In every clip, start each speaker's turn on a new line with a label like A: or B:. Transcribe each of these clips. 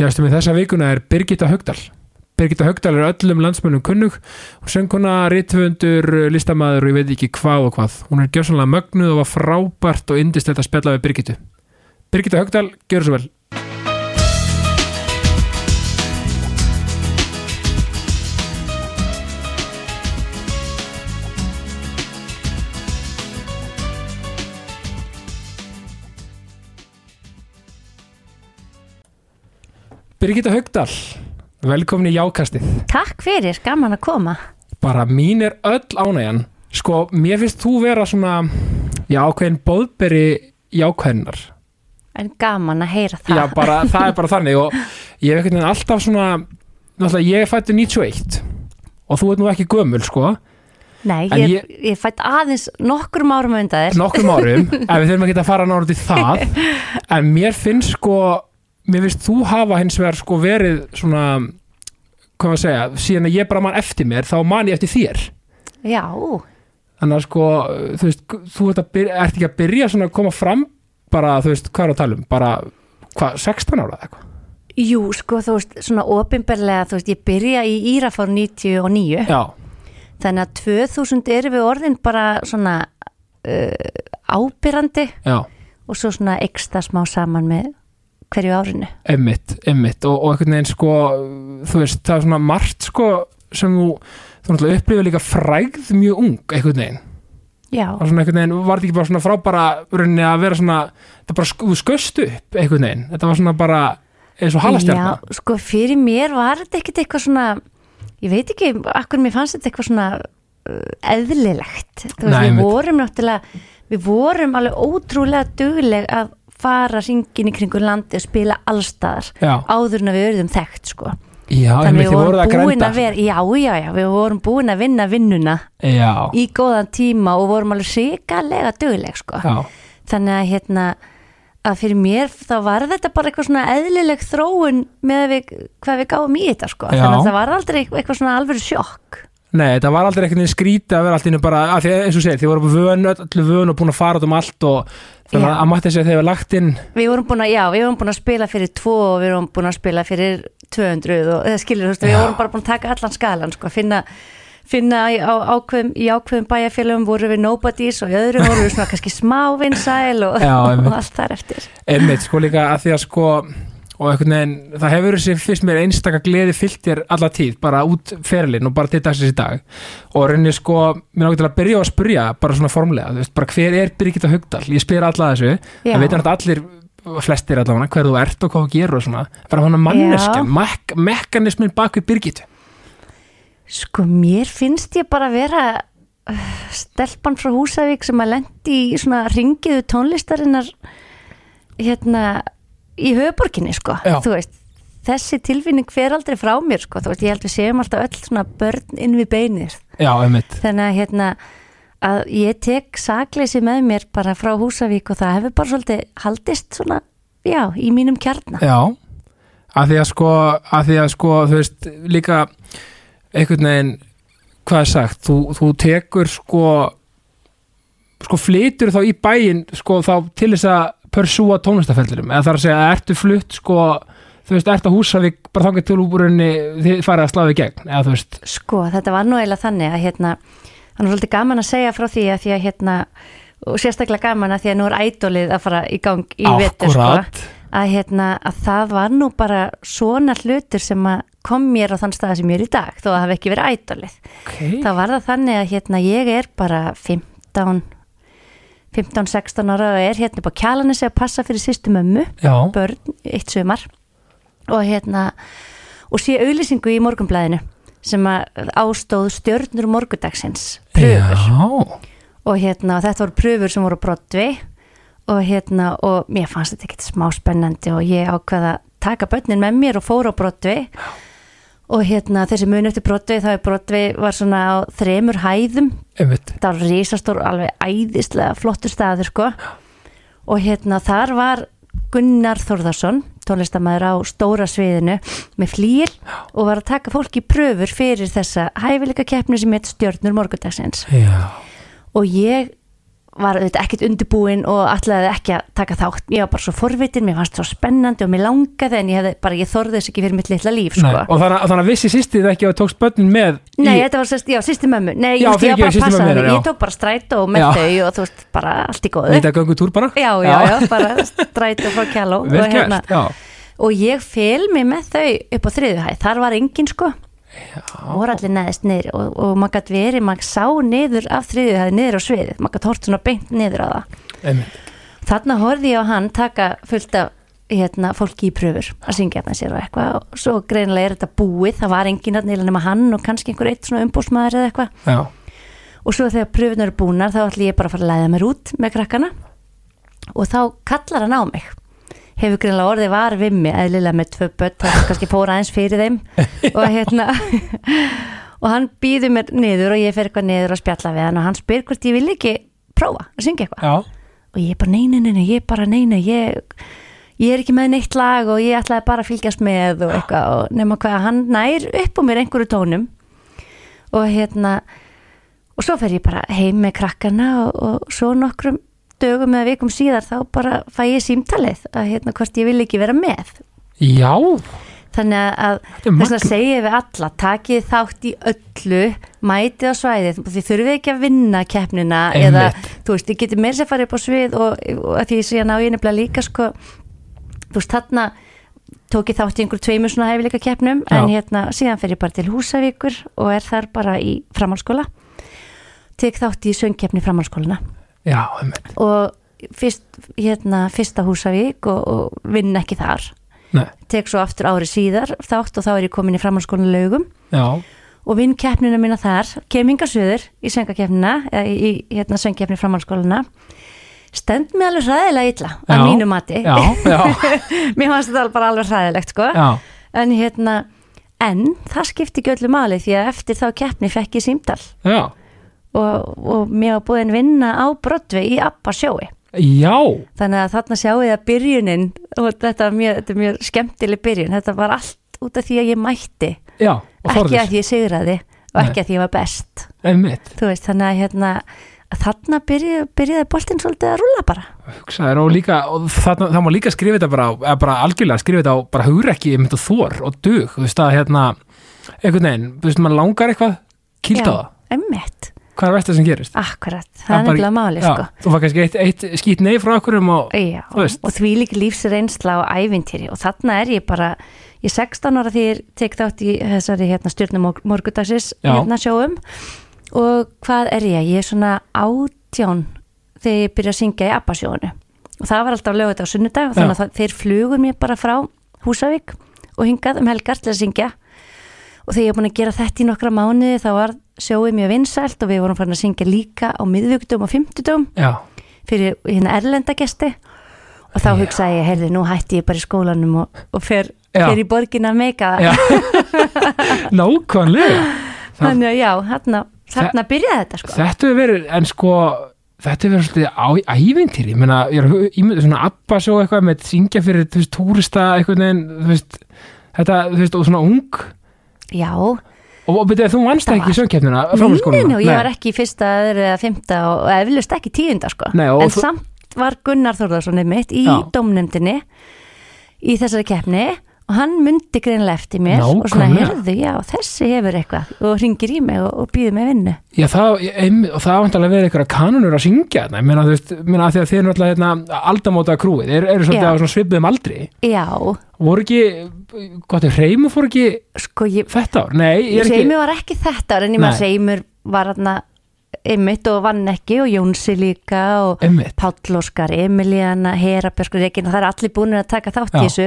A: Gæstum við þessa vikuna er Birgitta Högdal. Birgitta Högdal er öllum landsmönnum kunnug og sönguna, rithfundur, listamaður og ég veit ekki hvað og hvað. Hún er gjössanlega mögnuð og var frábært og indislegt að spjalla við Birgittu. Birgitta Högdal, gjör svo vel. Birgitta Högdal, velkomin í Jákastið.
B: Takk fyrir, gaman að koma
A: Bara mín er öll ánægjan. Sko, mér finnst þú vera svona, já, ákveðin bóðberi jákvæðinar.
B: En gaman að heyra það
A: Já, bara, það er bara þannig og ég hef einhvern veginn alltaf svona náttúrulega ég er fættur 91 og þú ert nú ekki gömul sko
B: Nei,
A: En
B: ég, ég... fætt aðeins nokkrum árum undan þér
A: nokkrum árum, en við þurfum ekki að fara náður til það, en mér finnst sko, mér finnst þú hafa hins vegar sko verið svona hvað maður að segja, síðan að ég bara man eftir mér, þá man ég eftir þér
B: Já,
A: þannig að sko, þú veist þú ert, að byrja, ert ekki að byrja svona að koma fram bara, þú veist, hvað er að tala um bara, hvað, 16 ára eða eitthvað
B: jú, sko, þú veist, svona opinberlega, þú veist, ég byrja í Írafár 99
A: Já,
B: Þannig að 2000 erum við orðin bara svona uh, ábyrrandi
A: já
B: og svo svona eksta smá saman með hverju árinu.
A: Emmitt, emmitt og, og einhvern veginn sko þú veist, það er svona margt sko sem þú, þú náttúrulega upplifir líka frægð mjög ung einhvern veginn
B: Já,
A: og svona einhvern veginn, var þetta ekki bara svona frábara rauninni að vera svona, það bara sk þú skust upp einhvern veginn, þetta var svona bara eins og halastjarna,
B: Já, sko fyrir mér var þetta ekkert eitthvað svona ég veit ekki, akkur mér fannst þetta eitthvað svona uh, eðlilegt Þú veist,
A: Nei,
B: við
A: einmitt.
B: vorum náttúrulega við vorum alveg ótrúlega dugleg að fara ringin í kringu landi og spila allstaðar
A: já,
B: áður en að við urðum þekkt sko
A: já
B: þannig
A: einmitt,
B: við
A: þið voruð
B: vorum
A: að
B: búin
A: grænda
B: að vera já, já, já, við vorum búin að vinna vinnuna
A: já,
B: í góðan tíma og vorum alveg sikalega dugleg sko
A: já,
B: þannig að hérna að fyrir mér þá var þetta bara eitthvað svona eðlileg þróun með að við, hvað við gáum í þetta sko
A: Já.
B: þannig að það var aldrei eitthvað eitthvað svona alveg sjokk
A: nei, þetta var aldrei einhvern veginn skrítið að vera allt innu bara, af því að eins og segir, þið voru vön, öllu vön og búin að fara út um allt og þannig
B: Já.
A: að maður þessi að þið hefur lagt inn
B: við vorum búin að, já, við vorum búin að spila fyrir tvo og við vorum búin að spila fyrir 200 og það skilur, þú veist, við
A: Já.
B: vorum bara búin að taka allan skalan sko, finna finna í- á ákveðum, í ákveðum bæjarfélagum vorum við nobodies og í öðrum vorum við svona kannski smávinsæl og,
A: Já, einmitt.
B: og allt þar eftir
A: Einmitt, sko líka að því að sko og einhvern veginn, það hefur þessi fyrst mér einstaka gleði fyllt þér alla tíð bara út ferlinn og bara til dagsins í dag og rauninni sko, mér náttúrulega til að byrja á að spyrja bara svona formlega, þú veist, bara hver er Birgitta Haugdal, ég spyr alla þessu
B: Já.
A: það veit hann allir, flestir allavega hver þú ert og hvað þú gerur og svona bara hann að
B: Já.
A: manneskja, mek mekanismin bak við Birgittu
B: Sko mér finnst ég bara vera uh, stelpan frá Húsavík sem að lendi í svona ringiðu tónlistarinnar hérna í höfuborginni sko,
A: Já.
B: þú veist þessi tilfinning fer aldrei frá mér sko, þú veist ég held við séum alltaf öll svona börn inn við beinir,
A: Já, einmitt,
B: þannig að hérna að ég tek sakleysi með mér bara frá Húsavík og það hefur bara svolítið haldist svona, já, í mínum kjarna.
A: já að því að sko, að því að sko þú veist, líka einhvern veginn, hvað er sagt þú, þú tekur sko sko flytur þá í bæinn sko þá til þess að persúa tónlistafellirum, eða það er að segja að ertu flutt sko, þú veist, ertu að húsa við bara þangað til úrbúrinni þið farið að slaða í gegn, eða þú veist,
B: Sko, þetta var nú eiginlega þannig að hérna, hann var svolítið gaman að segja frá því að því að hérna, og sérstaklega gaman að því að nú er ædolið að fara í gang í vetur, sko,
A: akkúrat.
B: að hérna, að það var nú bara svona hlutur sem að kom mér á þann stað sem ég er í dag, þó að það hafi ekki verið ædolið.
A: okay.
B: Þá var það þannig að hérna, ég er bara 15, 15-16 ára og er hérna upp á kjalanis að passa fyrir sýstu mömmu
A: já,
B: börn eitt sumar og hérna og sé auðlýsingu í morgunblæðinu sem að ástóð stjörnur morgudagsins pröfur
A: já,
B: og hérna og þetta voru pröfur sem voru brotvi og hérna og mér fannst þetta ekkert smá spennandi og ég ákveða að taka börnin með mér og fór á brotvi og hérna þessi mun eftir brotvi þá er brotvi var svona á þremur hæðum
A: einmitt
B: þetta var risastór, alveg æðislega flottur staður sko og hérna þar var Gunnar Þórðarsson tónlistamæður á stóra sviðinu með flýl og var að taka fólki pröfur fyrir þessa hæfileika keppni sem heit stjörnur morgundagsins
A: já,
B: og ég var auðvitað ekkert undirbúin og ætlaði ekki að taka þátt ég var bara svo forvitin, mér fannst svo spennandi og mér langaði en ég, hefði, bara, ég þorði þess ekki fyrir mitt litla líf
A: Nei,
B: sko.
A: og þannig, að- þannig að vissi sýsti þetta ekki og tókst börnin með
B: Nei,
A: í,
B: þetta var sérst, já, sýsti mömmu Nei,
A: Já,
B: já, ég, ég,
A: fyrirgefðu,
B: bara
A: systir
B: passaði
A: mömmu
B: mig,
A: þinnar, já.
B: ég tók bara strætó með
A: Já.
B: þau og þú veist, bara allt í góðu
A: þetta gangu túr bara
B: Já, já, já, bara strætó frá kjáló
A: vel
B: og, hérna,
A: gert, já
B: og ég fel mig með þau upp á þriðu hæð, þar var engin sko voru allir neðist niður og, og maður gætt verið, maður sá niður af þriðu hæð niður á sviðið, maður gætt hort svona beint niður á það
A: einmitt.
B: þarna horfði ég á hann taka fullt af hérna, fólki í pröfur að syngja hérna sér og eitthvað og svo greinilega er þetta búið, það var enginn hérna nema hann og kannski einhver eitt svona umbúsmaður eða eitthvað
A: já,
B: og svo þegar pröfunar eru búnar þá ætla ég bara að fara að læða mér út með krakkana og þá kallar hann á mig hefur greinilega orðið var við mig eðlilega með tvö börn, það kannski fóra aðeins fyrir þeim og hérna og hann býður mér niður og ég fer eitthvað niður að spjalla við hann og hann spyr hvort ég vil ekki prófa að syngja eitthvað
A: já,
B: og ég bara neina, neina, ég bara neina ég, ég er ekki með neitt lag og ég ætlaði bara að fylgjast með og eitthvað og nema hvað, hann nær upp á mér einhverju tónum og hérna og svo fer ég bara heim með krakkana og, og svo nokkrum dögum eða vikum síðar þá bara fæ ég símtalið að hérna hvort ég vil ekki vera með
A: já,
B: þannig að
A: er
B: þess að
A: magnað.
B: segja við alla takið þátt í öllu mætið á svæðið, þið þurfið ekki að vinna keppnina eða þú veist, ég geti meir sér farið upp á svið og, og að því sé að ná ég nefnilega líka sko, þú veist, þarna tók ég þátt í einhver tveimur svona hæfileika keppnum en
A: Já.
B: hérna, síðan fer ég bara til Húsavíkur og er þar bara í framhalskóla tek þátt í söngkeppni framhalskólana
A: já, einmitt.
B: og fyrst, hérna, fyrsta Húsavík og, og vinn ekki þar
A: Nei,
B: tek svo aftur ári síðar þátt og þá er ég komin í framhalskólinu laugum
A: já,
B: og vinn keppnina mína þar kem inga söður í söngakeppnina eða í, í hérna söngkeppni framhalskólina stend mér alveg hræðilega illa
A: Já.
B: að mínu mati
A: já, já,
B: mér fannst þetta bara alveg hræðilegt sko
A: já.
B: en hérna en það skipti ekki öllu máli því að eftir þá keppni fekk ég símdal
A: já.
B: og, og mér var búin vinna á Broadway í Abba sjói
A: Já,
B: þannig að þarna sjáu ég að byrjunin og þetta er mjög, þetta er mjög skemmtileg byrjun þetta var allt út af því að ég mætti
A: já, og
B: ekki
A: þorðis,
B: að ég sigraði og ekki að ég var best
A: einmitt,
B: þú veist, þannig að hérna að þarna byrja, byrjaði boltinn svolítið að rúla bara
A: hugsaður og líka, og það, það má líka skrifa þetta bara, á- eða bara algjörlega skrifa þetta á bara hugrekki, einmitt og þor og dug, þú veist að hérna, einhvern veginn, þú veist, maður langar eitthvað, kýlda það,
B: emmitt,
A: hvað er versta sem gerist?
B: akkurat það er
A: bara-
B: nefnilega máli
A: já,
B: sko
A: Þú var kannski eitt, eitt skýt neyð frá okkur um og
B: Já,
A: Þú veist.
B: og því lík lífsreynsla og ævintýri og þarna er ég bara ég er 16 ára því ég tek þátt í þessari hérna, stjórnum morgudagsins
A: Já.
B: hérna sjóum og hvað er ég? Ég er svona átján þegar ég byrja að syngja í Abbasjónu og það var alltaf lögut á sunnudag og
A: Já.
B: þannig að það- þeir flugur mér bara frá Húsavík og hingað um helgar til að syngja og þegar ég er búin að gera þetta í nokkra mánuði þá var sjóið mjög vinsælt og við vorum farin að syngja líka á miðvíkudum og fimmtudum
A: já,
B: fyrir hérna erlendagesti og þá
A: Já.
B: hugsaði ég, heyrðu, nú hætti ég bara í skólanum og, og fer,
A: Já.
B: fer í borgin að meika
A: já.
B: það
A: nákvæmlega það,
B: þannig að já, þarna, þarna byrjaði þetta sko.
A: þetta hefur verið, en sko þetta hefur verið svolítið á, ævintýri ég meina, ég er að ímynda svona abba sjó eitthvað með syngja fyrir, þú veist, túrista eitthvað neginn, þú veist, þetta þú veist, og svona ung,
B: já,
A: og, og betur þú vannst
B: Þetta
A: ekki
B: var-
A: sjöngkeppnina,
B: minninu,
A: framhalskóluna
B: og ég var ekki í fyrsta, öðru eða fymta og, og eflust ekki tíunda sko.
A: Nei, og
B: en
A: þú-
B: samt var Gunnar Þórðarssoni mitt í
A: Já.
B: dómnefndinni í þessari keppni og hann myndi greinlega eftir mér og svona,
A: Nákvæmlega.
B: heyrðu, já, þessi hefur eitthvað og ringir í mig og, og býður mig vinnu
A: Já, það, ég, einmitt- og það vantarlega verið einhverja kanunur að syngja þarna, ég meina, þú veist, ég meina, af því að þið er náttúrulega hérna, aldamóta krúið, eru er svolítið
B: Já.
A: á svona svipuðum aldri,
B: já,
A: voru ekki, hvað þau, Reymur fór ekki
B: sko ég
A: þetta ár? Nei, ég er
B: Seymur
A: ekki,
B: var ekki þetta en ég
A: Nei.
B: maður Seymur var hann ymmit og vann ekki og Jónsi líka og
A: einmitt,
B: Páll Óskar, Emilíana, Herabjörg Regina, það er allir búinir að taka þátt í
A: Já.
B: þessu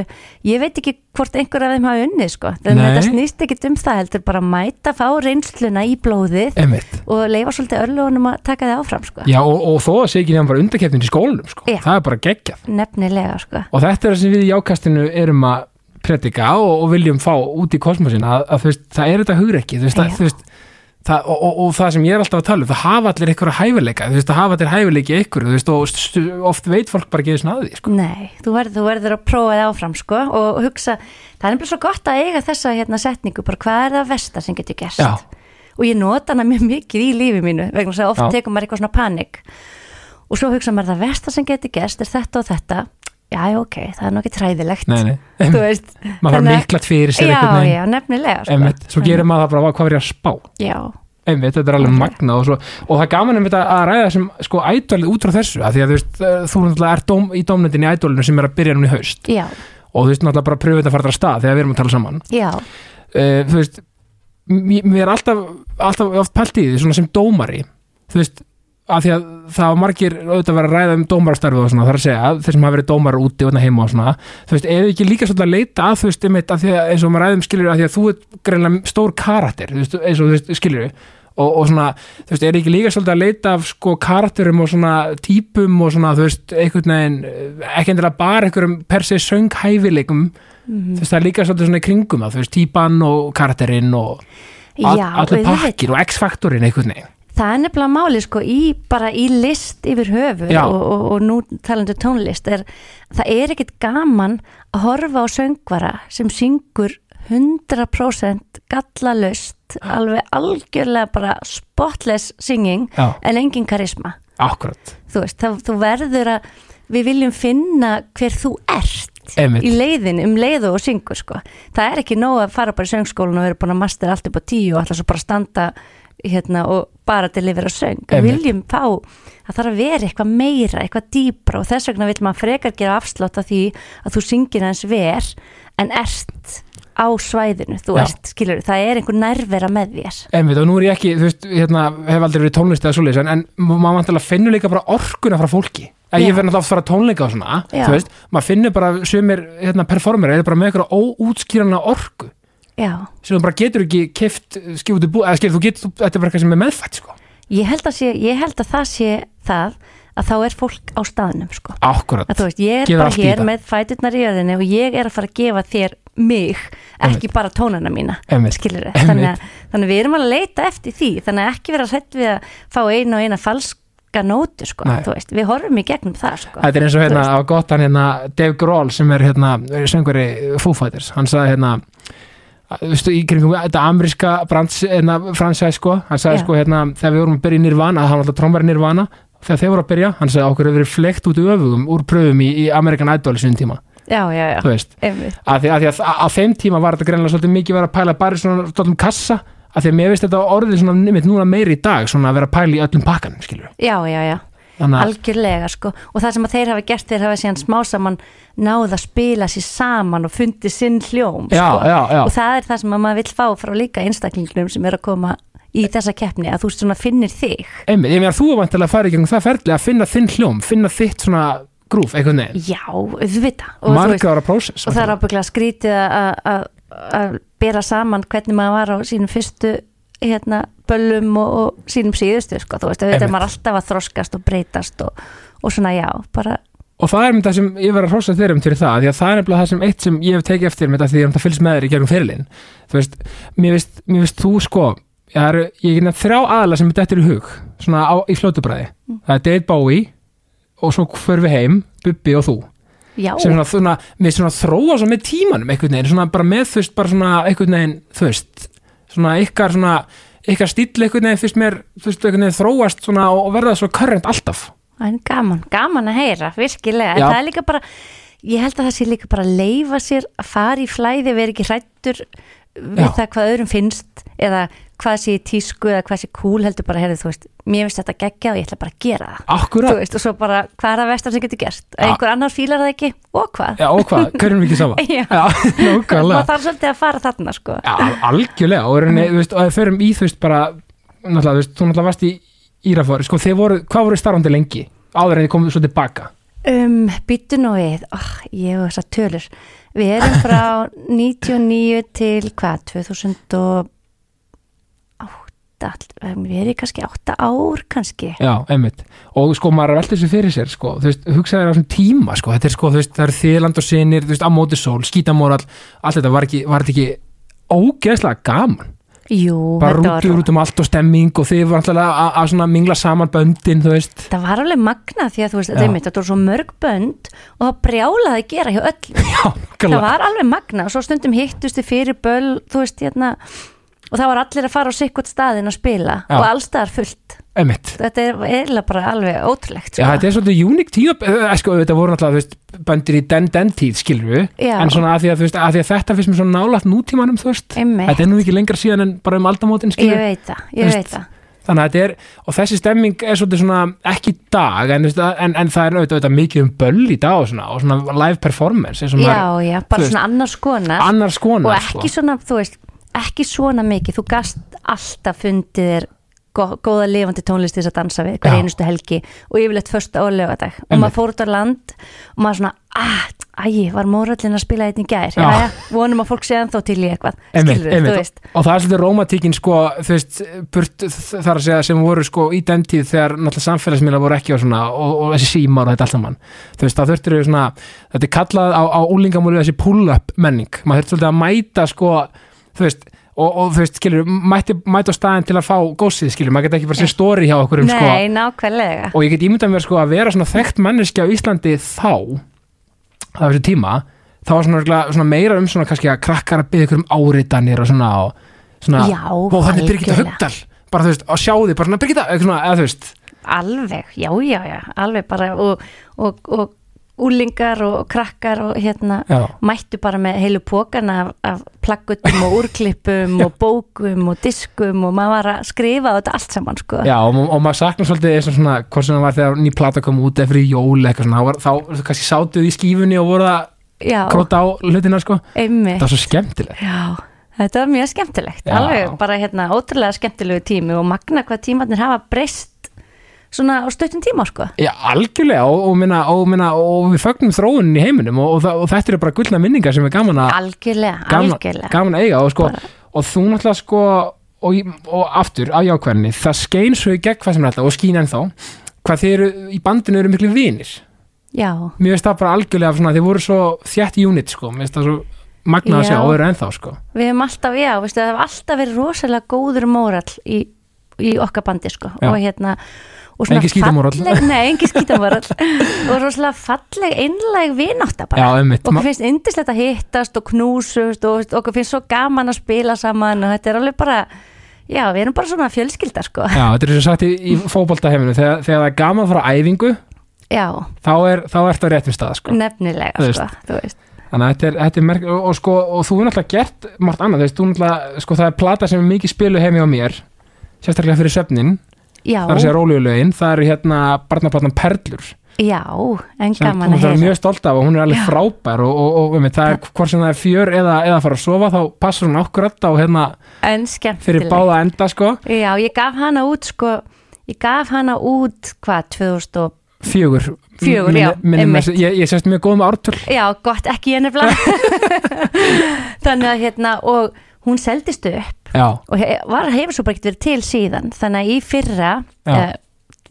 B: ég veit ekki hvort einhver af þeim hafi unnið sko, þannig
A: Nei.
B: að þetta snýst ekkit um það heldur bara að mæta, fá reynsluna í blóðið
A: einmitt.
B: og leifa svolítið örlugunum að taka þið áfram sko,
A: Já, og, og þó að sé ekki nefnum bara undarkeppnin í skólanum, sko.
B: Já.
A: Það er bara geggjað.
B: nefnilega sko
A: Og þetta er það sem við í jákastinu erum að predika og, og viljum fá út í kosmosin að, að þú veist, það er þetta hugrekki, þú veist, það,
B: Já.
A: þú veist það, og, og, og það sem ég er alltaf að tala um, það hafa allir einhverja hæfileika, þú veist, það hafa allir hæfileiki í einhverju, þú veist, og stu, oft veit fólk bara ekki þessna að því, sko.
B: Nei, þú verður, þú verður að prófa þið áfram sko og hugsa, það er nefnilega svo gott að eiga þessa hérna setningu, bara hvað er það versta sem getur gerst
A: Já.
B: og ég nota hana mjög mikið í lífi mínu vegna þess að oft
A: Já.
B: tekur maður eitthvað svona panik og svo hugsa maður það versta sem geti gerst er þetta og þetta já, já, ok, það er nokkið træðilegt
A: nei, nei.
B: þú veist,
A: maður
B: Þannig
A: fara
B: að-
A: miklat fyrir sér
B: já,
A: einhvern veginn
B: já, nefnilega sko.
A: Einmitt, svo gerir maður það bara "Vá, hvað var ég að spá
B: já,
A: einmitt, þetta er alveg
B: Ok.
A: magna og, svo, og það er gaman einmitt að að ræða sem sko ædolið út frá þessu að því að þú veist, eh, þú náttúrulega ert dóm, í dómnendin í ædolinu sem er að byrja núna í haust
B: já,
A: og þú veist náttúrulega bara pröfið að fara þar af stað þegar við erum að tala saman
B: já
A: uh, þú veist mér mér er alltaf, alltaf oft pælt í því svona sem dómari þú veist af því að það var margir auðvitað að vera að ræða um dómarastarfið og svona, þar að segja að þeir sem hafa verið dómarar úti og þarna heima og svona, þú veist, eða ekki líka svolítið að leita að, þú veist, einmitt, af því að eins og maður ræðum skilur, af því að þú ert greinlega stór karakter, þú veist, eins og þú veist, skilur og, og svona, þú veist, er ekki líka svolítið að leita af sko karakterum og svona típum og svona, þú veist, einhvern veginn eh, ekki endilega bara einhverjum per se sönghæfileikum, þú veist, það er líka svolítið svona í kringum það, þú veist, típan og karakterinn og all,
B: já,
A: allir
B: auðvitað.
A: pakkir og x-faktorinn einhvern veginn
B: það er nefnilega máli sko í, bara í list yfir höfu
A: Já.
B: og, og, og nú talandi um tónlist er, það er ekkit gaman að horfa á söngvara sem syngur 100% gallalust alveg algjörlega bara spotless singing
A: Já.
B: en engin karisma
A: Akkurat,
B: þú veist, það, þú verður að við viljum finna hver þú ert
A: Einmitt.
B: í leiðin um leiðu og syngur sko. það er ekki nóg að fara bara í söngskólan og vera búin að mastera allt upp á tíu og alltaf svo bara standa hérna og bara delivera söng, við
A: Einmitt.
B: viljum fá það þarf að vera eitthvað meira, eitthvað dýbra og þess vegna vil maður frekar gera afslátt af því að þú syngir hans ver en ert á svæðinu þú
A: Já.
B: ert, skilur, það er einhver nærvera með þér
A: einmitt og nú er ég ekki, þú veist, hérna hef aldrei verið tónlist eða svoleiðis en, en maður vantilega finnur líka bara orkuna frá fólki að
B: Já.
A: ég verð náttúrulega oft að fara á tónleika og svona
B: Já.
A: þú veist, maður finnur bara sumir hérna, performer eða bara með eitthvað óútskýrana orku
B: já,
A: sem þú bara getur ekki keft skjúti bú, eða skilur þú getur, þú- þetta er bara eitthvað sem er meðfætt sko.
B: ég held að, sé, ég held að það sé það að þá er fólk á staðnum sko.
A: Akkurat,
B: að þú veist, ég er
A: Gefur allt
B: bara
A: í
B: hér
A: þetta.
B: með fæturnar í öðinni og ég er að fara að gefa þér mig, ekki bara tónana mína
A: Einmitt.
B: skilur
A: Einmitt.
B: þannig, að- þannig að við erum alveg að leita eftir því þannig að ekki vera hrætt við að fá einu og eina falska nótu sko,
A: Nei.
B: þú veist, við horfum í gegnum það sko.
A: Þetta er eins og hérna
B: Þú
A: á gottan hérna Dave Grohl sem er hérna söngveri Foo Fighters, hann sagði hérna að, veistu, í kringum þetta ameríska brands, hérna, fransæð sko hann sagði
B: Já.
A: sko hérna, þegar við vorum að byrja í Nirvana hann var alltaf trómari Nirvana, þegar þeir voru að byrja hann sagði okkur hefur verið flekt út öfugum úr pröfum í, í Amerikan Idol sinni tíma
B: já, já, já,
A: þú veist,
B: einmitt
A: að því að, því að á þeim tíma var þetta greinlega svolítið mikið verið að pæla bara í svona stóllum kassa, að því að mér veist þetta orðið svona nýmitt núna meiri í dag, svona að vera að pæla í öllum pakkanum, skilur
B: já, já, já,
A: Þannig að,
B: algjörlega sko. og það sem að þeir hafa gert, þeir hafa síðan smá saman náð að spila sér saman og fundið sinn hljóm
A: já,
B: sko.
A: já, já,
B: og það er það sem að maður vill fá frá líka einstaklingnum sem er að koma í þessa keppni að þú svona finnir þig
A: Einmitt, ég meina þú er vantilega að fara í gegnum það ferli að finna þinn hljóm, finna þitt svona grúf, einhvern veginn,
B: já, auðvitað og, þú veist,
A: margra ára prósess
B: og það er ábygglega skrítið að- að að bera saman hvernig maður var á sínum fyrstu hérna, böllum og, og sínum síðustu sko, þú veist, auðvitað
A: Einmitt.
B: er maður alltaf að þroskast og breytast og, og svona já, bara
A: og það er einmitt það sem ég verið að hrósa þér um fyrir það, því að það er nefnilega það sem eitt sem ég hef tekið eftir með þetta því að það fylgst með þér í gegnum fyrirlin þú veist, mér veist, mér veist þú sko ég er, ég er hérna þrjá aðla sem þetta er í hug svona á, í fljótubræði
B: Mm.
A: það er Dave Bowie og svo fyrir við heim, Bubbi og þú
B: já,
A: sem svona, svona, mér svona þróa svona með tímanum einhvern veginn, svona bara með þú veist bara svona einhvern veginn, þú veist svona ykkar svona, ykkar stíll einhvern veginn fyrst mér, þú veist, einhvern veginn þróast svona og og verða svo current alltaf
B: en gaman, gaman að heyra, virkilega en
A: Já.
B: það er líka bara, ég held að það sé líka bara að leifa sér að fara í flæði vera ekki hrættur við
A: Já.
B: það hvað öðrum finnst eða hvað sé í tísku eða hvað sé cool heldur bara, heyrðu, þú veist, mér finnst þetta geggja og ég ætla bara að gera það þú
A: Akkurat,
B: veist, og svo bara, hvað er það vestar sem getur gert
A: Ja.
B: ja. einhver annar fílar það ekki, og hvað
A: já og hvað, hverjum við ekki sama
B: Já.
A: nákvæmlega
B: maður þarf svolítið að fara þarna sko
A: Já, algjörlega og, rauninni, þú veist, og ef við förum í þú veist bara náttúrulega, þú veist, þú náttúrulega varst í Írafóri sko, þið voru, hvað voru starfandi lengi áður en þið komið svo tilbaka
B: um, býttu nú við, oh, ég og þessar tölur við erum frá 99 til hvað, 2008 við erum í kannski 8 ár kannski
A: Já, einmitt. Og sko, maður veldi þessu fyrir sér, sko, þú veist, hugsaði þér á svona tíma, sko, þetta er sko, þú veist, það eru þýðland og sinir, þú veist, á móti sól, skítamóral, allt þetta var ekki, var þetta ekki ógeðslega gaman.
B: jú,
A: Bara
B: þetta var,
A: rútur út um allt og stemming og þið var alltaf að, að svona mingla saman böndin, þú veist.
B: það var alveg magna því að þú
A: Já.
B: veist, þetta er mitt, þetta voru svo mörg bönd og það brjálaði að gera hjá öll
A: Já,
B: það
A: kalla.
B: var alveg magna og svo stundum hittustu fyrir böll þú veist, hérna og það var allir að fara á sikkert staðin að spila
A: Já.
B: og allstaðar fullt
A: Emmett
B: þetta er eiginlega bara alveg ótrúlegt
A: Já,
B: sko.
A: þetta er svolítið uník tíma eh, sko, þetta voru náttúrulega, þú veist, bændir í den-den tíð skilur við,
B: Já.
A: en svona að því að, þú veist, að því að þetta finnst mér svona nálægt nútímanum þú veist,
B: Einmitt.
A: þetta er nú ekki lengra síðan en bara um aldamótin
B: ég
A: skilur við,
B: veit það, ég
A: Veist,
B: veit það
A: þannig að þetta er og þessi stemming er svolítið svona ekki í dag, en, þú veist, en, en það er auðvitað, auðvitað mikið um böll í dag og svona, og svona live performance, eins og
B: já,
A: maður
B: já,
A: þú
B: bara
A: veist,
B: svona annars konar
A: annars
B: og
A: konar sko.
B: ekki sko- svona, þú veist ekki svona mikið, þú gast alltaf fundið þér gó- góða lifandi tónlist til þess að dansa við hver
A: Já.
B: einustu helgi og yfirleitt första og lögadag og
A: Einmitt.
B: maður fór út á land og maður svona, ah, æj, var mórallin að spila einn í gær,
A: Já.
B: já, vonum að fólk sé ennþá til í eitthvað,
A: Einmitt,
B: skilur þú
A: einmitt.
B: veist
A: og það er svolítið rómatíkin sko, þú veist, burt þar að segja sem voru sko í den tíð þegar náttúrulega samfélagsmiðla voru ekki og svona og, og þessi símar og þetta allt saman þú veist, það þurftir svona, þetta er kallað á, á úlingamúli þessi pull-up menning maður þurfti svolítið að mæta sko þú veist, og, og þú veist, skilur, mæti, mæta á staðin til að fá gósið, skilur, maður geta ekki bara sér stóri hjá okkur um sko
B: Nei, nákvæmlega
A: og ég get ímyndað mér sko að vera svona þekkt manneskja á Íslandi þá á þessu tíma, þá var svona, örugglega- svona meira um svona kannski að krakkar að byggja ykkur um áritanir og svona, og, svona
B: Já,
A: og þannig Birgitta
B: algjörlega.
A: Haugdal bara þú veist, og sjá því, bara svona Birgitta eitthvað svona, eða þú veist,
B: Alveg, já, já, já, alveg bara og, og, og úlingar og krakkar og hérna
A: já
B: mættu bara með heilu pókana af, af plaggutum og úrklippum og bókum og diskum og maður var að skrifa á þetta allt saman sko.
A: Já, og, og maður saknar svolítið eins og svona, hvort sem það var þegar ný plata kom út eða fyrir jól eitthvað svona, þá var, þá þú kannski sátuð í skífunni og voru að
B: Já,
A: króta á hlutina sko,
B: einmitt
A: það var svo skemmtilegt
B: Já, þetta var mjög skemmtilegt
A: Já.
B: alveg bara hérna ótrúlega skemmtilegu tími og magna hvað tímarnir hafa breyst svona á stöttum tíma sko.
A: Já, algjörlega og, og, minna, og, minna, og við fögnum þróunin í heiminum og, og, það- og þetta eru bara gullna minningar sem er gaman að
B: algjörlega,
A: gaman,
B: algjörlega
A: gaman að eiga og, sko,
B: Bara.
A: og þú náttúrulega sko og, og aftur á jákvæðinni það skein svo í gegn hvað sem er þetta og skín ennþá hvað þeir eru í bandinu eru miklu vinir
B: Já,
A: mér veist það bara algjörlega svona, þeir voru svo þjætt unit sko, mér veist það svo magnað að
B: Já.
A: sjá og eru ennþá sko
B: við hefum alltaf, já, veistu, það hefur alltaf verið rosalega góður mórall í, í okkar bandi, sko,
A: Já.
B: og hérna og
A: Engin skítamórall.
B: falleg, nei, engi skítamórall og rosalega falleg, einlæg vinátt
A: já,
B: bara,
A: einmitt,
B: okkur
A: Ma-
B: finnst indislegt að hittast og knúsust og veist, okkur finnst svo gaman að spila saman og þetta er alveg bara já, við erum bara svona fjölskylda, sko
A: já, þetta er svo sagt í,
B: Mm.
A: í fótboltaheiminu þegar, þegar það er gaman að fara á æfingu
B: já,
A: þá er þá ertu á réttum stað sko. Þú
B: nefnilega,
A: veist.
B: sko þú veist,
A: þannig að þetta er, þetta er merk og, og sko, og þú er náttúrulega gert margt annað, þú veist, þú náttúrulega sko, það er plata sem er mikið spilu heimi á mér sérstaklega fyrir svefnin
B: já,
A: það er að segja rólíulögin, það eru hérna barnaplatan Perlur
B: já en
A: sem
B: gaman
A: hún
B: að
A: er
B: heyra
A: mjög stolt af og hún er alveg
B: Já.
A: frábær og, og, og um, það er hvort sem það er fjör eða, eða fara að sofa þá passar hún ákvörð og hérna
B: en
A: fyrir
B: skemmtilega
A: báða enda sko
B: Já, ég gaf hana út sko, ég gaf hana út hvað, 2000 og,
A: fjögur,
B: Fjögur,
A: Minni-
B: já,
A: minni
B: einmitt.
A: með- ég, ég sérst mjög góð með ártöl
B: já, gott, ekki ég nefnilega þannig að hérna, og hún seldist upp
A: já,
B: og he- var, hefur svo bara ekkert verið til síðan þannig að í fyrra
A: Já.
B: uh,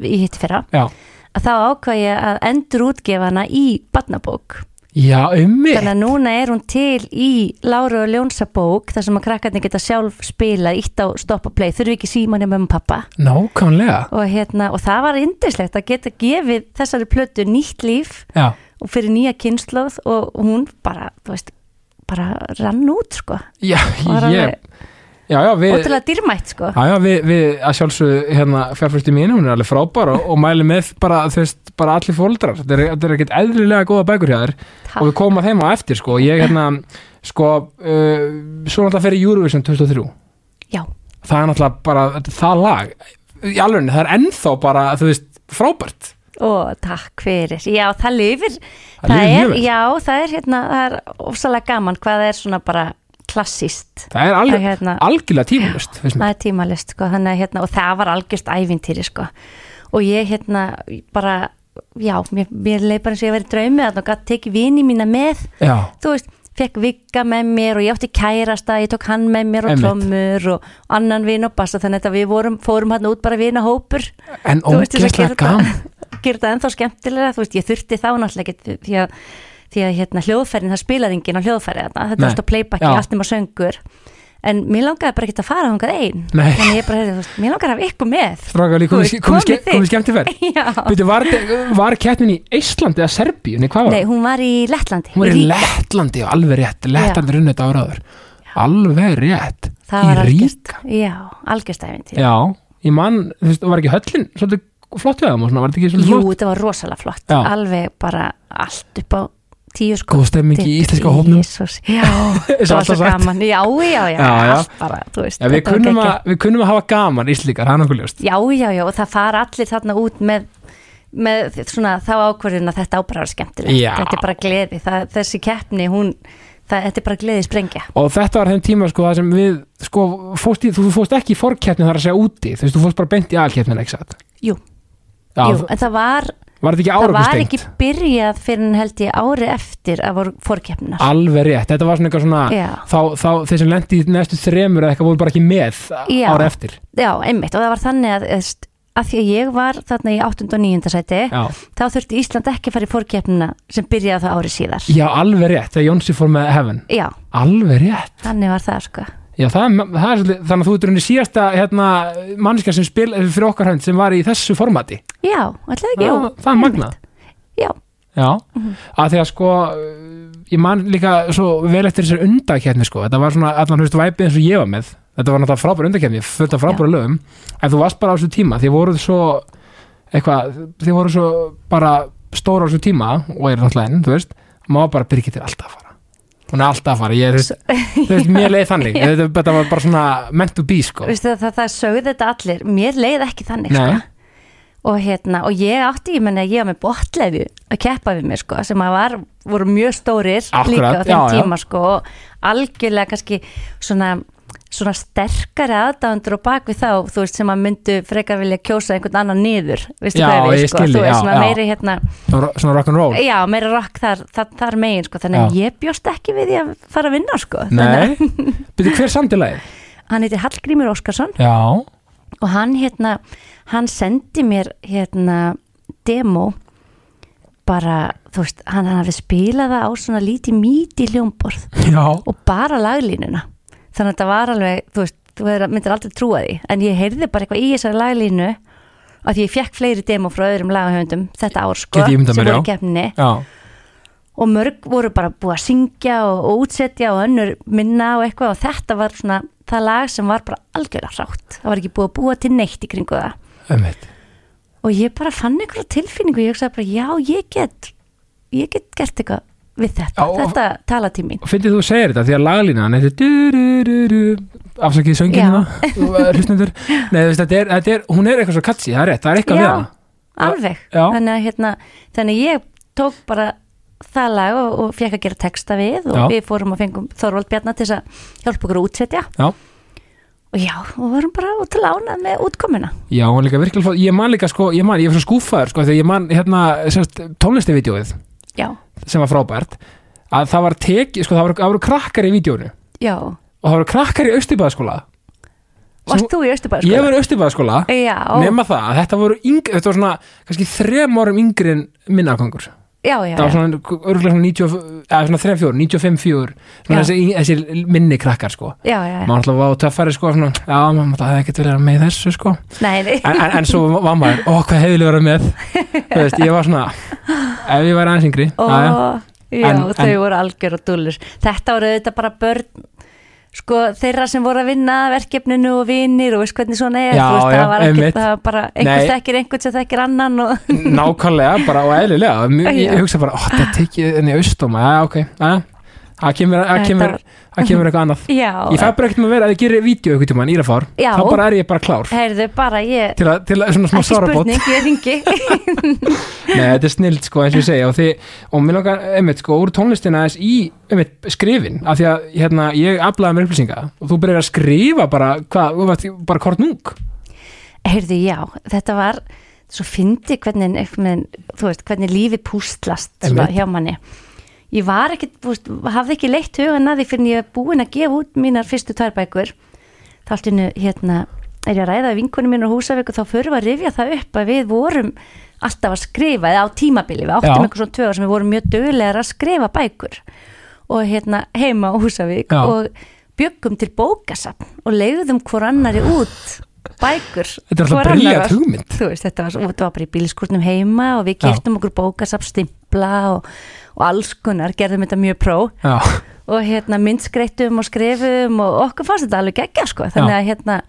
B: í hitt fyrra,
A: já,
B: að þá ákvað ég að endur útgefa hana í barnabók
A: já, ummi
B: þannig að núna er hún til í Láru og Ljónsa bók þar sem að krakkarnir geta sjálf spila, ítt á stoppa play, þurfi ekki símanni með um pappa
A: nákvæmlega
B: og, hérna, og það var indislegt að geta gefið þessari plötu nýtt líf
A: já,
B: og fyrir nýja kynnslóð og hún bara, þú veist, bara rann út sko,
A: já,
B: var
A: ég
B: alveg
A: já, já, við,
B: ótrúlega dýrmætt sko
A: Já, já, við, við að sjálfsögðu hérna fjárfærstum mínu, hún er alveg frábær og, og mæli með bara, þú veist, bara allir fóldrar þetta er, þetta er ekkert eðlilega góða bækur hjá þér og við
B: Takk.
A: komum að þeim á eftir, sko ég hérna, sko uh, svo náttúrulega fyrir Eurovision 2003
B: Já,
A: það er náttúrulega bara, þetta- það lag í alveg, það er ennþá bara, þú veist frábært,
B: og takk fyrir Já, það lifir
A: Það lifir
B: er,
A: mjög vel.
B: Já, það er hérna, það er ofsalega gaman hvað það er svona bara klassist
A: það er alveg,
B: Það hérna-
A: algjörlega tímulust veist mér,
B: það er tímalist sko, þannig að hérna og það var algjörst ævintýri sko og ég hérna bara já, mér, mér leið bara eins og ég verið draumið þarna og gætt tekið vini mína með
A: já,
B: þú veist, fekk Vigga með mér og ég átti kærasta, ég tók hann með mér og
A: Einmitt.
B: trommur og annan vin og bassa þannig að við vorum, fórum hann út bara vina hópur
A: en
B: Þú veist, þess að
A: ógeðslega
B: gera þetta-
A: gaman
B: gera þetta ennþá skemmtilega, þú veist, ég þurfti þá náttúrulega ekki því að, því að hérna, hljóðfærin, það spilar enginn á hljóðfæri þarna, þetta
A: Nei.
B: er alltaf playbacki,
A: Já.
B: allt nema söngur en mér langaði bara ekki að fara þangað einn
A: Nei.
B: þannig ég bara, heyrðu, þú veist, mér langaði að hafa ykkur með
A: strákali,
B: Þú veist, komið þið.
A: komið skemmtifær
B: Já,
A: Býtu, var, var keppnin í Íslandi eða Serbíu, nei hvað var
B: nei, hún var í Lettlandi
A: Hún er í
B: Ríga.
A: Lettlandi og alveg rétt Lettlandi runni þetta áraður alveg rétt
B: það
A: Í
B: var algjört,
A: Ríga?
B: já, algjörst æfintýr
A: já, ég mann, þú veist, var ekki höllin svolítið flott við það, var þetta ekki svolítið
B: Jú,
A: flott
B: þetta var rosalega flott,
A: Já.
B: alveg bara allt upp á tíu sko
A: góð stemming í
B: Diddi,
A: íslenska hófnum
B: Jesús, já, það var
A: alltaf
B: svo
A: sagt.
B: gaman já, já, já,
A: Já, já.
B: allt bara, þú veist
A: Já, við,
B: þetta var
A: kunnum
B: geggjað.
A: að, við kunnum að hafa gaman íslíkar, það er nokkuð ljóst
B: já, já, já, og það fara allir þarna út með, með svona þá ákvörðin að þetta á bara að vera skemmtilegt
A: Já.
B: þetta er bara gleði, það, þessi keppni hún, það, þetta er bara gleði sprengja
A: og þetta var þeim tíma sko það sem við sko, fóst í, þú fóst ekki í forkeppni þar að segja úti, þú veist, þú fóst bara beint í alkeppnin ekki satt?
B: jú,
A: Já,
B: jú, en það var
A: var þetta ekki
B: það var
A: árakustengt?
B: ekki byrjað fyrir en held ég ári eftir að voru fórkeppnar
A: Alveg rétt, þetta var svona eitthvað svona
B: Já.
A: þá, þá þeir sem lendi í næstu þremur eða eitthvað voru bara ekki með
B: Já.
A: ára eftir
B: já, einmitt, og það var þannig að, eðst, að því að ég var þarna í 8. og 9. sæti
A: Já,
B: þá þurfti Ísland ekki að fara í fórkeppnina sem byrjaði það ári síðar
A: Já alveg rétt, þegar Jónsi fór með Heaven
B: já,
A: Alveg rétt
B: þannig var það sko
A: Já, það, er- það er svolítið, þannig að þú ert rauninni síðasta hérna, mannskja sem spil fyrir okkar hönd sem var í þessu formati
B: já, alltaf ekki,
A: Já,
B: jú,
A: það er magnað
B: já,
A: Já, að því að sko ég man líka svo vel eftir þessar undakefni sko, þetta var svona allan hlust væpið eins og ég var með, þetta var náttúrulega frábær undakefni fullt af frábæra lögum, en þú varst bara á þessu tíma því voruð svo eitthvað, því voruð svo bara stóra á þessu tíma og er náttúrulega enn, þú veist má bara Birgit er alltaf að fara hún er alltaf að fara, ég er þú veist, þú veist mér leið þannig, þetta, þetta var bara svona meant to be sko,
B: veistu það, það, það sögðu þetta allir mér leið ekki þannig
A: Nei.
B: sko og hérna, og ég átti, ég menna ég var með botlefi að keppa við mig sko sem að var, voru mjög stórir líka á
A: Akkurat,
B: þeim
A: já, já.
B: tíma sko og algjörlega kannski svona svona sterkari aðdáðandur og bak við þá, þú veist, sem að myndu frekar vilja kjósa einhvern annan niður, veistu
A: Já,
B: hvað við,
A: ég
B: sko,
A: skil
B: þú
A: þig,
B: veist,
A: já,
B: svona
A: já.
B: meiri hérna,
A: Svona- svona rock'n'roll
B: Já, meira rock þar, þar, þar megin sko, þannig að
A: Já.
B: ég bjóst ekki við því að fara að vinna sko. Þannig
A: Nei, byrju hver samtilegið?
B: að Hann heitir Hallgrímur Óskarsson
A: Já,
B: og hann hérna, hann sendi mér hérna demo bara, þú veist, hann hann hafi spilað það á svona lítið míti hljómborð
A: já
B: og bara laglínuna. Þannig að þetta var alveg, þú veist, þú verður- myndir aldrei trúa því, en ég heyrði bara eitthvað í þessari laglínu af því ég fekk fleiri demo frá öðrum lagahöfundum þetta ár sko,
A: Get ég ímyndað
B: sem
A: mér,
B: voru
A: já.
B: keppni
A: Já,
B: og mörg voru bara búið að syngja og, og útsetja og önnur minna og eitthvað og þetta var svona það lag sem var bara algjörlega rátt það var ekki búið að búa til neitt í kringu það
A: emmitt
B: og ég bara fann einhverja tilfinningu ég hugsaði bara já ég get ég get gert eitthvað við þetta
A: Já, og-
B: þetta tala til mín
A: og finnir þú segir þetta því að laglínan er du-du-du-du afsakið söngina eh, hlustendur Nei, þú veist, þetta er, þetta er, hún er eitthvað svo katsi, það er rétt, það er eitthvað
B: Já.
A: við hana
B: alveg
A: Já.
B: þannig að hérna þannig að ég tók bara það lag og, og fekk að gera texta við og
A: Já.
B: við fórum og fengum Þorvald Bjarnar til þess að hjálpa okkur að útsetja
A: já,
B: og já og vorum bara út að lána með útkomuna
A: já, hún er líka virkilega flott ég man líka sko, ég man, ég er svo skúfaður sko, þegar ég man, hérna, sérst, tónlistivídeóið
B: já
A: sem var frábært að það var tekið, sko, það voru, það voru krakkar í vídjónu
B: já
A: og það voru krakkar í austibæðaskóla
B: Varst þú í Östubæðarskóla?
A: ég var í austibæðaskóla
B: Já,
A: nema það, að þetta voru yngri, þetta var svona kannski þrem árum yngri en minna afgangur
B: já, já,
A: það var
B: já,
A: svona örgulega svona 90 eða svona 3-4, 95-4
B: Já.
A: svona þessi, þessi minni krakkar sko
B: já, já, já.
A: maður alltaf var á töffari sko svona, já, maður alltaf hefði ekkert verið að vera með í þessu sko en,
B: Nei, nei,
A: en, en svo var maður, ó, hvað hefði verið að vera með þú veist, ég var svona ef ég væri aðeins yngri
B: Ó,
A: já,
B: já,
A: En-
B: þau
A: en-
B: voru algjör og dúllur Þetta voru auðvitað bara börn sko, þeirra sem voru að vinna að verkefninu og vinir og veist hvernig svona er
A: Já,
B: þú veist,
A: já,
B: það var
A: einmitt.
B: ekkert, það var bara einhvers
A: Nei.
B: þekkir einhvern sem þekkir annan og
A: já. nákvæmlega, bara og eðlilega Mjög-
B: Já.
A: ég hugsa bara, ó, það tekið henni austóma já, ok, já, það kemur það kemur, það kemur eitthvað annað
B: já,
A: ég fæ bara ekkert með að vera að ég gerir vídeo eitthvað tíma en írafár,
B: Já.
A: þá bara er ég bara klár
B: heyrðu bara ég
A: til að, til að svona smá
B: ekki
A: sárabót
B: spurning, ég ringi
A: Nei, þetta er snild sko eins og ég segja og, því, og mér langar, einmitt sko, úr tónlistina aðeins í, einmitt, skrifin af því að, hérna, ég aflaði mér upplýsinga og þú byrjar að skrifa bara hvað, þú veist, bara hvort núk
B: heyrðu já, þetta var svo fyndi hvernig, einhvern veginn, þú veist, hvernig lífi pústlast svona,
A: Einmitt.
B: hjá manni ég var ekkit, þú veist, hafði ekki leitt hugan að því fyrir en ég er búin að gefa út mínar fyrstu tvær bækur þá allt innu, hérna, er ég að ræða við vinkunum mínu á húsavíku, þá förum við að rifja það upp að við vorum alltaf að skrifa eða á tímabili, við áttum
A: Já.
B: eitthvað svona tvö ár sem við vorum mjög dögulegar að skrifa bækur og hérna heima á húsavík
A: Já.
B: og bjöggum til bókasafn og leiðum hvor annari út bækur
A: Þetta er alltaf
B: hvor
A: brilliant
B: annarrar.
A: hugmynd.
B: Þú veist, þetta var, svo- þetta var bara í bílskúrnum heima og við
A: Já.
B: kiptum okkur bókasafn stimpla og, og alls kunnar gerðum þetta mjög pró
A: Já,
B: og hérna myndskreittum og skrifum og okkur fannst þetta alveg geggja sko þannig
A: Já.
B: að hérna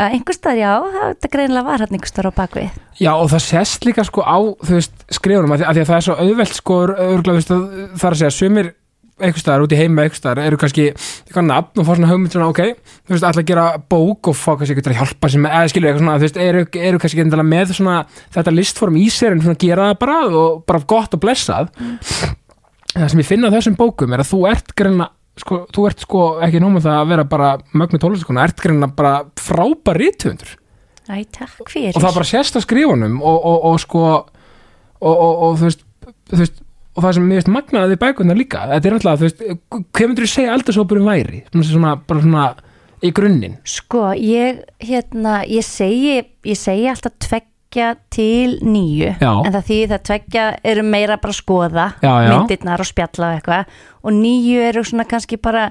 B: að einhver staðar já, það- þetta greinilega var hann einhver staðar á bakvið
A: Já og það sést líka sko á þú veist, skrifunum að því, að því að það er svo auðvelt sko örgla, veist, að, það er að segja sumir einhvers staðar út í heima einhvers staðar eru kannski eitthvað nafn og fá svona hugmynd svona ok þú veist alltaf að gera bók og fá kannski eitthvað að hjálpa sem eða skilur eitthvað svona þú veist eru, eru kannski eitthvað með svona þetta listform í sér en svona gera það bara og bara gott og blessað það sem ég finna á þessum bókum er að þú ert greina sko, þú ert sko ekki nómum það að vera bara mögnu tólustakona, ert greina bara frábær rithundur
B: Æ, takk fyrir
A: og það bara sést á skrifunum og, og, og sko og, og, og þú veist, þú veist og það sem mér veist magnaði bækunar líka þetta er alltaf, þú veist, hvað myndir þú segja aldurshópurum væri, svona, svona, bara svona í grunninn,
B: Sko, ég, hérna, ég segi, ég segi alltaf tveggja til nýju
A: Já.
B: en það þýðir að tveggja eru meira bara að skoða
A: Já, já.
B: myndirnar og spjalla og eitthvað og nýju eru svona kannski bara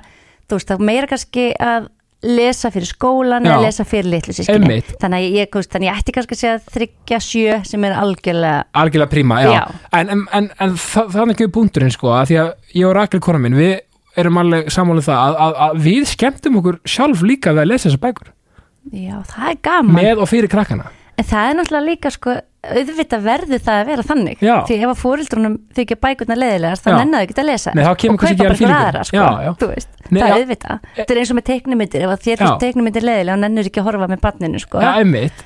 B: þú veist, það er meira kannski að lesa fyrir skólan
A: Já.
B: eða lesa fyrir litlu sískinni
A: Einmitt.
B: þannig að ég, þú veist, þannig að ég ætti kannski að segja þryggja sjö sem er algjörlega
A: algjörlega príma já.
B: Já.
A: en, en, en, en það, það er ekki búndurinn sko, að því að ég og Rakel kona minn við erum alveg sammála um það að, að, að við skemmtum okkur sjálf líka við að lesa þessar bækur,
B: já, það er gaman
A: með og fyrir krakkana
B: En það er náttúrulega líka sko auðvitað verður það að vera þannig
A: Já.
B: því ef að fóreldrunum þykja bækurna leðilegast þá
A: Já.
B: nennaðu ekki að lesa
A: Nei, þá kemur
B: og
A: kannski ekki
B: kaupa bara
A: að
B: fyrir
A: fílingur.
B: aðra sko.
A: Já, já.
B: Þú veist,
A: Nei,
B: það
A: já.
B: er auðvitað þetta er eins og með teiknumyndir ef að þér finnst
A: Já.
B: teiknumyndir leðilega og nennur ekki að horfa með barninu sko.
A: já, einmitt,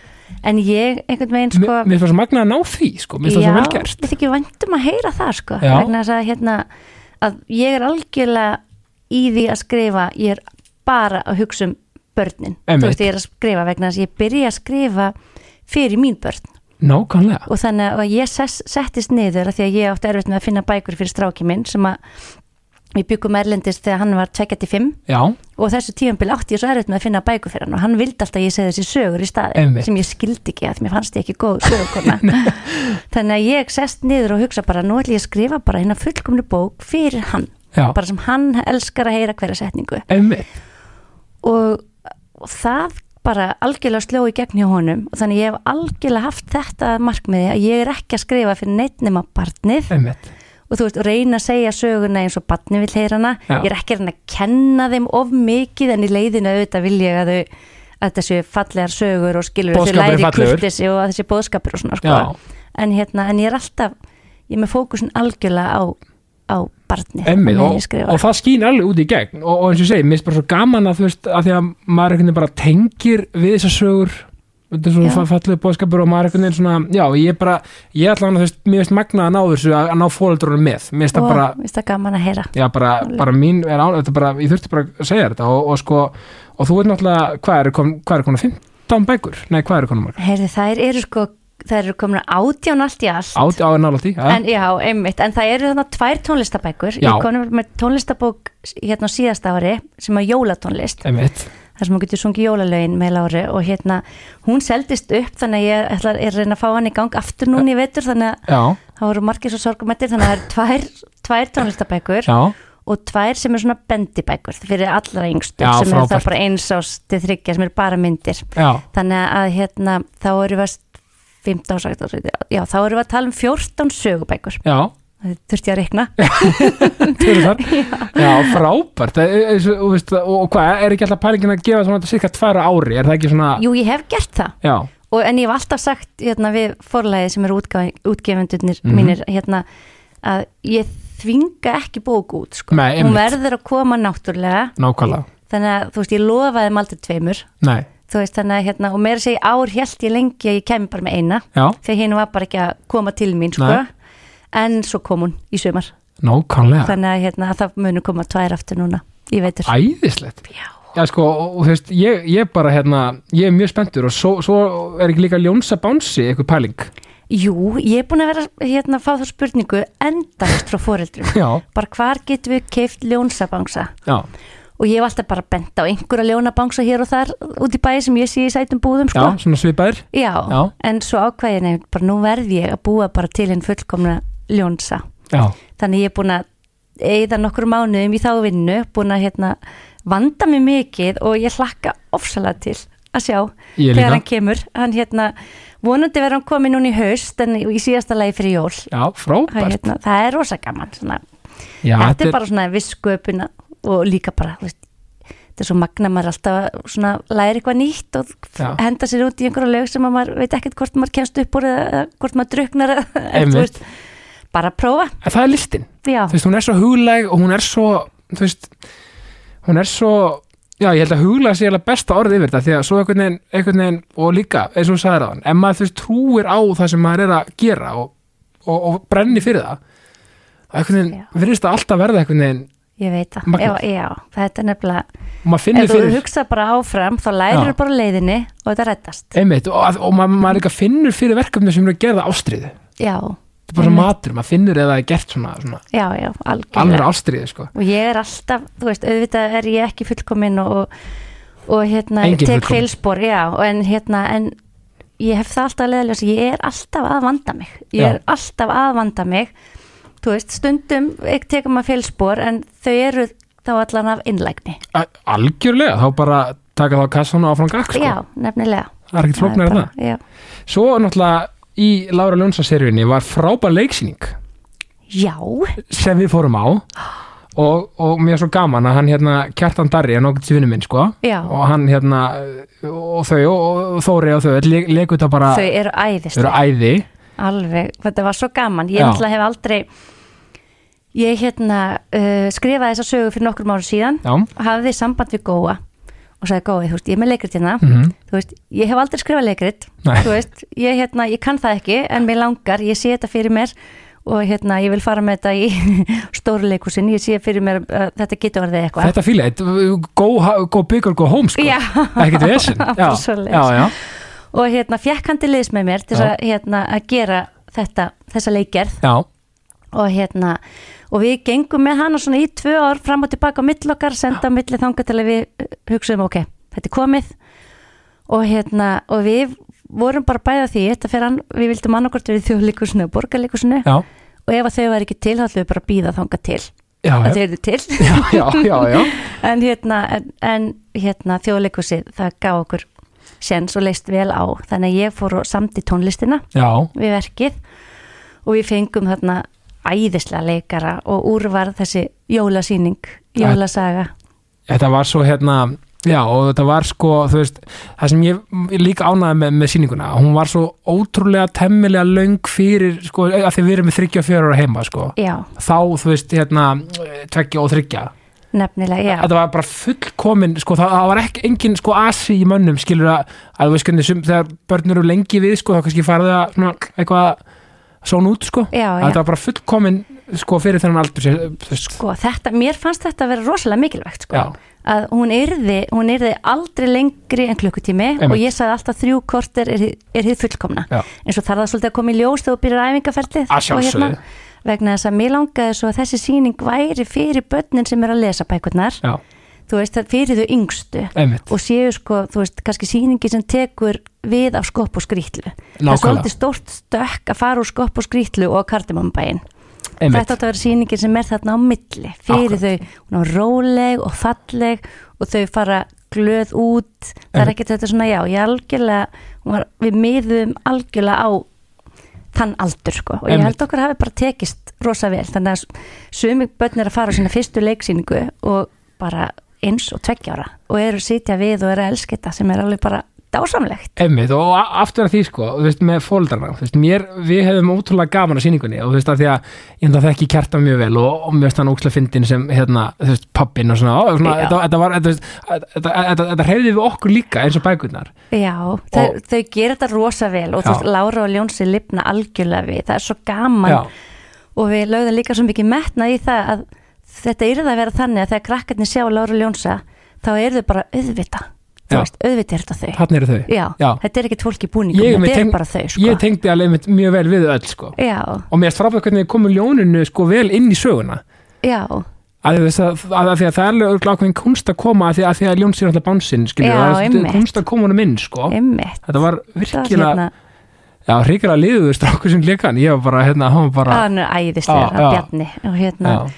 B: en ég einhvern veginn
A: sko,
B: sko,
A: mér, mér finnst það svo magnaði að ná því sko, mér finnst það svo vel gert
B: við þykjum væntum að heyra það sko,
A: Já.
B: vegna þess að, hérna, að ég er algjörlega í því að skrifa ég er bara að hugsa um börnin
A: Einmitt.
B: þú veist, ég er að skrifa vegna þess að ég byrja að skrifa fyrir mín börn
A: nákvæmlega,
B: og þannig að ég sess, settist niður af því að ég átti erfitt með að finna bækur fyrir stráki minn sem að við byggum erlendist þegar hann var 25
A: já,
B: og þessu tíðanbíl átti ég svo erfitt með að finna bækur fyrir hann og hann vildi alltaf að ég segði þessi sögur í staði
A: Einmitt.
B: sem ég skildi ekki að mér fannst ég ekki góð sögurkona þannig að ég sest niður og hugsa bara nú ætlum ég að skrifa bara hérna fullkomnu bók fyrir hann
A: já,
B: bara sem hann elskar að heyra hverja setningu
A: einmitt
B: og, og það bara algjörlega sló í gegn hjá honum og þannig ég hef algjörlega haft þetta að markmiði að ég er ekki að skrifa fyrir neitt nema barnið
A: einmitt,
B: og þú veist, reyna að segja söguna eins og barnið vil heyra hana
A: Já.
B: ég er ekki að reyna að kenna þeim of mikið en í leiðinu auðvitað vil ég að þau að þetta séu fallegar sögur og skilur þau
A: Boðskapurinn
B: læri
A: fallegur.
B: kurtisi og að þessi bóðskapur og svona sko.
A: Já.
B: en, hérna, en ég er alltaf ég er með fókusin algjörlega á, á barnið
A: Einmitt,
B: meðan
A: og,
B: ég skrifa.
A: og það skýn alveg út í gegn og, og eins og ég segi, mér finnst bara svo gaman að þú veist að því að maður einhvern veginn bara tengir við þessar sögur þetta er
B: Já.
A: svona fallið bóðskapur og maður einhvern veginn svona, já, ég bara ég ætla hann að þú veist, mér finnst magna að ná þessu að, að ná fóreldrunum með, mér finnst það bara
B: og veist það gaman að heyra
A: já, bara, bara mín er án, þetta er bara, ég þurfti bara að segja þetta og, og sko, og þú veit náttúrulega hvað eru kom, hvað eru konar 15 bækur, nei, hvað eru konar margar,
B: Heyrðu, þær eru sko, þær eru komin að átján allt í allt.
A: át á nála tí
B: En, já, einmitt, en það eru þannig tvær tónlistabækur.
A: Já.
B: Ég konum með tónlistabók hérna á síðasta ári sem er jólatónlist.
A: einmitt,
B: Þar sem hún getur sungið jólalögin með Láru og hérna, hún seldist upp þannig að ég ætla, er að reyna að fá hann í gang aftur
A: Eh.
B: núna í vetur þannig að
A: já,
B: það voru margir svo sorgumættir þannig að það eru tvær, tvær tónlistabækur
A: já
B: og tvær sem er svona bendibækur fyrir allra yngstu
A: Já,
B: sem eru
A: frábært.
B: það bara eins ás til þryggja sem eru bara myndir
A: já,
B: þannig að hérna þá erum við að 15, 16, 17, já þá erum við að tala um 14 sögubækur
A: já
B: það þurfti ég að reikna
A: fyrir þar já, frábært Það er- eins og, og, veist, og, og hvað, er ekki alltaf pælingin að gefa svona cirka tværa ári, er það ekki svona
B: jú ég hef gert það
A: já,
B: og, en ég hef alltaf sagt hérna við forlæði sem eru útgáf- útgefendurnir
A: Mhm.
B: mínir hérna að ég þvinga ekki bók út sko.
A: Nei,
B: hún
A: einmitt.
B: verður að koma náttúrulega
A: nákvæmlega
B: þannig að þú veist ég lofaði þeim aldrei tveimur
A: nei,
B: þú veist þannig að hérna og meira að segja í ár held ég lengi að ég kemi bara með eina
A: já,
B: þegar hinn var bara ekki að koma til mín sko.
A: Nei.
B: en svo kom hún í sumar
A: nákvæmlega
B: þannig að hérna, að það munu koma tvær aftur núna í veitur
A: æðislegt
B: Já.
A: já, sko, og, og þú veist, ég, ég bara hérna ég er mjög spenntur og svo, svo er ekki líka ljónsa bánsi eitthvað pæling
B: Jú, ég er búin að vera hérna að fá þá spurningu endast frá foreldrum
A: já,
B: bara hvar getum við keift ljónsabangsa
A: já,
B: og ég hef alltaf bara bent á einhverja ljónabangsa hér og þar út í bæði sem ég sé í sætum búðum
A: já,
B: sko.
A: svona svipaðir
B: Já.
A: Já.
B: en svo ákvæðin er bara nú verð ég að búa bara til einn fullkomna ljónsa
A: já,
B: þannig ég er búin að eigða nokkur mánuðum í þá vinnu búin að hérna, vanda mig mikið og ég hlakka ofsalega til að sjá
A: Ég líka.
B: þegar hann kemur hann hérna, vonandi verður hann komið núna í haust en í síðasta lagi fyrir jól
A: já, frábært
B: það, hérna, það er rosa gaman svona.
A: já,
B: þetta er bara svona viss sköpuna og líka bara þú veist, þetta er svo magna maður alltaf svona læri eitthvað nýtt og
A: Já.
B: henda sér út í einhverja lög sem að maður veit ekkert hvort maður kemst upp úr eða eða hvort maður druknar eða- eða, þú
A: Einmitt.
B: veist, bara prófa
A: En það er listin,
B: já,
A: þú veist, hún er svo hugleg og hún er svo, þú veist hún er svo, já, ég held að huglega sé alveg besta orðið yfir þetta, því að svo einhvern veginn, einhvern veginn og líka, eins og hún sagði ráðan ef maður þú veist trúir á það sem maður er að gera og, og, og brenni fyrir það það einhvern
B: Já.
A: veginn virðist það alltaf verða einhvern veginn
B: ég veit það já,
A: Magnað.
B: já, þetta er nefnilega
A: og maður finnir
B: ef þú
A: fyrir,
B: hugsa bara áfram þá lærir
A: Já. Eh.
B: bara á leiðinni og þetta reddast
A: einmitt og, að- og maður, maður líka finnur fyrir verkefni sem eru að gera ástriðu,
B: já,
A: þetta er bara
B: Einmitt.
A: matur maður finnur eða það er gert svona, svona
B: já, já, algjörlega
A: alveg ástriðu, sko
B: og ég er alltaf, þú veist, auðvitað er ég ekki fullkomin og, og, og hérna,
A: Enginn
B: tek
A: fullkominn.
B: feilspor já, og en hérna, en ég hef það alltaf að leðaljós, ég er alltaf að vanda mig ég
A: Já.
B: er alltaf að vanda mig þú veist, stundum ekki tekum maður feilspor, en þau eru þá allan af innlægni,
A: A- algjörlega, þá bara taka þá kassan og áfram gakk, sko
B: já, nefnilega
A: það er ekkert flóknar en það
B: bara- já.
A: Svo náttúrulega í Lára Ljónsa seriunni var frábær leiksýning
B: já,
A: sem við fórum á og, og mér er svo gaman að hann hérna Kjartan Darri er nokkuð til vinnu minn sko
B: Já.
A: og hann hérna og þau og, og Þóri og þau öll le- leiku þetta bara
B: þau eru æðislega
A: eru æði
B: Alveg, þetta var svo gaman Ég
A: Já.
B: náttúrulega hef aldrei Ég hérna uh, skrifaði þessa sögu fyrir nokkrum árum síðan
A: Já,
B: hafði samband við Góa og sagði Gói, þú veist, ég er með leikrit hérna
A: Mhm.
B: þú veist, ég hef aldrei skrifað leikrit
A: Nei.
B: þú veist, ég hérna, ég kann það ekki en mér langar, ég sé þetta fyrir mér og hérna, ég vil fara með þetta í stóru leikusin, ég sé fyrir mér uh, þetta getur orðið eitthvað
A: þetta fíla þetta- Go, go big or go home sko
B: Já.
A: ekkert vesen Já,
B: Svoleiðis.
A: já, já,
B: og hérna, fekk hann til liðs með mér til þess að, hérna, að gera þetta, þessa leikgerð
A: já,
B: og hérna og við gengum með hana svona í tvö ár fram og tilbaka á mill okkar, senda á milli þanga til að við uh, hugsuðum, ok, þetta er komið og hérna og við vorum bara bæða því þetta fyrir hann, við vildum annarkort við þjóðleikusinu og borgarleikusinu
A: já
B: og ef að þau var ekki til þá ætlum við bara að býða þanga til
A: Já,
B: að
A: já,
B: þau eru til
A: já, já, já.
B: en hérna, en, en, hérna þjóðleikusið, það gaf okkur sens og leist vel á, þannig að ég fór og samdi tónlistina
A: já,
B: við verkið og við fengum þarna æðislega leikara og úr var þessi jólasýning, jólasaga
A: þetta var svo hérna já og þetta var sko þú veist, það sem ég, ég líka ánaði með, með sýninguna hún var svo ótrúlega temmilega löng fyrir sko að því við erum með 34 ára heima sko
B: já,
A: þá þú veist hérna tveggja og þryggja
B: nefnilega, já
A: þetta var bara fullkomin sko það, það var ekki engin sko asi í mönnum skilur að, að þú veist hvernig sum, þegar börn eru lengi við sko þá kannski farið að svona, eitthvað svona út sko
B: já, já,
A: þetta var bara fullkomin sko fyrir þennan aldur sér, þú veist, sko.
B: sko, þetta, mér fannst þetta að vera rosalega mikilvægt, sko,
A: já,
B: að hún yrði hún yrði aldrei lengri en klukkutími
A: Einmitt.
B: og ég sagði alltaf þrjú korter er, hið- er hið fullkomna,
A: Já.
B: eins og þarf það svolítið að koma í ljós þegar þú byrjar æfingaferlið
A: Að
B: og hérna,
A: sjálfsögðu.
B: vegna þess að mér langaði svo að þessi sýning væri fyrir börnin sem eru að lesa bækurnar
A: já,
B: þú veist, það- fyrir þau yngstu
A: einmitt
B: og séu sko, þú veist, kannski síningi sem tekur við af skopp og skrýtlu það er
A: Nákvæmlega.
B: svolítið stórt stökk að fara úr skopp og skrýtlu og kardimumbæin
A: einmitt.
B: þetta átt að vera síningi sem er þarna á milli fyrir þau, hún er róleg og falleg og þau fara glöð út, það er
A: Einmitt.
B: ekkert þetta svona já, ég algjörlega, hún var, við miðum algjörlega á þann aldur sko og ég
A: Einmitt.
B: held okkur hafi bara tekist rosa vel þannig að sumi börn er að fara á sína fyrstu leiksýningu og bara eins og tveggja ára og eru sitja við og eru að elska þetta sem er alveg bara dásamlegt
A: Einmitt, og a- aftur að því sko, þú veist, með fóldarna, þú veist, mér, við hefum ótrúlega gaman að sýningunni og þú veist, að því að ég enda þekki kjarta mjög vel og, og mér veist hann ókslega fyndin sem, hérna, þú veist, pappin og svona, og svona,
B: Já.
A: þetta, þetta var, þetta, þú veist, þetta- þetta, þetta, þetta hreyfði við okkur líka eins og bækurnar.
B: Já, þau, þau gera þetta rosa vel og
A: Já.
B: þú veist, Lára og Ljónsi lifna algjörlega við, það er svo gaman
A: Já,
B: og við lögðum líka svo mikið metna í það að þetta yrði að vera þannig að þegar krakkarnir sjá Lára og Ljónsa þá eru þau bara auðvita
A: Já.
B: þú veist, auðvita er þetta þau
A: þarna eru þau.
B: Já,
A: Já.
B: þetta er ekkert fólk í
A: Ég er
B: búningum,
A: með
B: þetta
A: teng-
B: er bara þau sko.
A: Ég tengdi alveg einmitt mjög vel við þau öll sko.
B: Já,
A: Og mér erst frábæð hvernig þau komu ljóninu sko vel inn í söguna.
B: já,
A: Að því, að, að, að því að það er alveg örugglega ákveðin kunst að koma að því að, því að ljóns er alltaf bánsinn, skilur,
B: Já,
A: það er
B: einmitt.
A: kunst að koma honum inn, sko.
B: einmitt
A: Þetta var
B: Það var
A: virkilega,
B: hérna,
A: Já, hrikalega liðuður strákur sem leika hann, ég var bara, hérna, hann var bara,
B: hann er æðislega,
A: Já, já.
B: hann Bjarni og hérna,
A: já,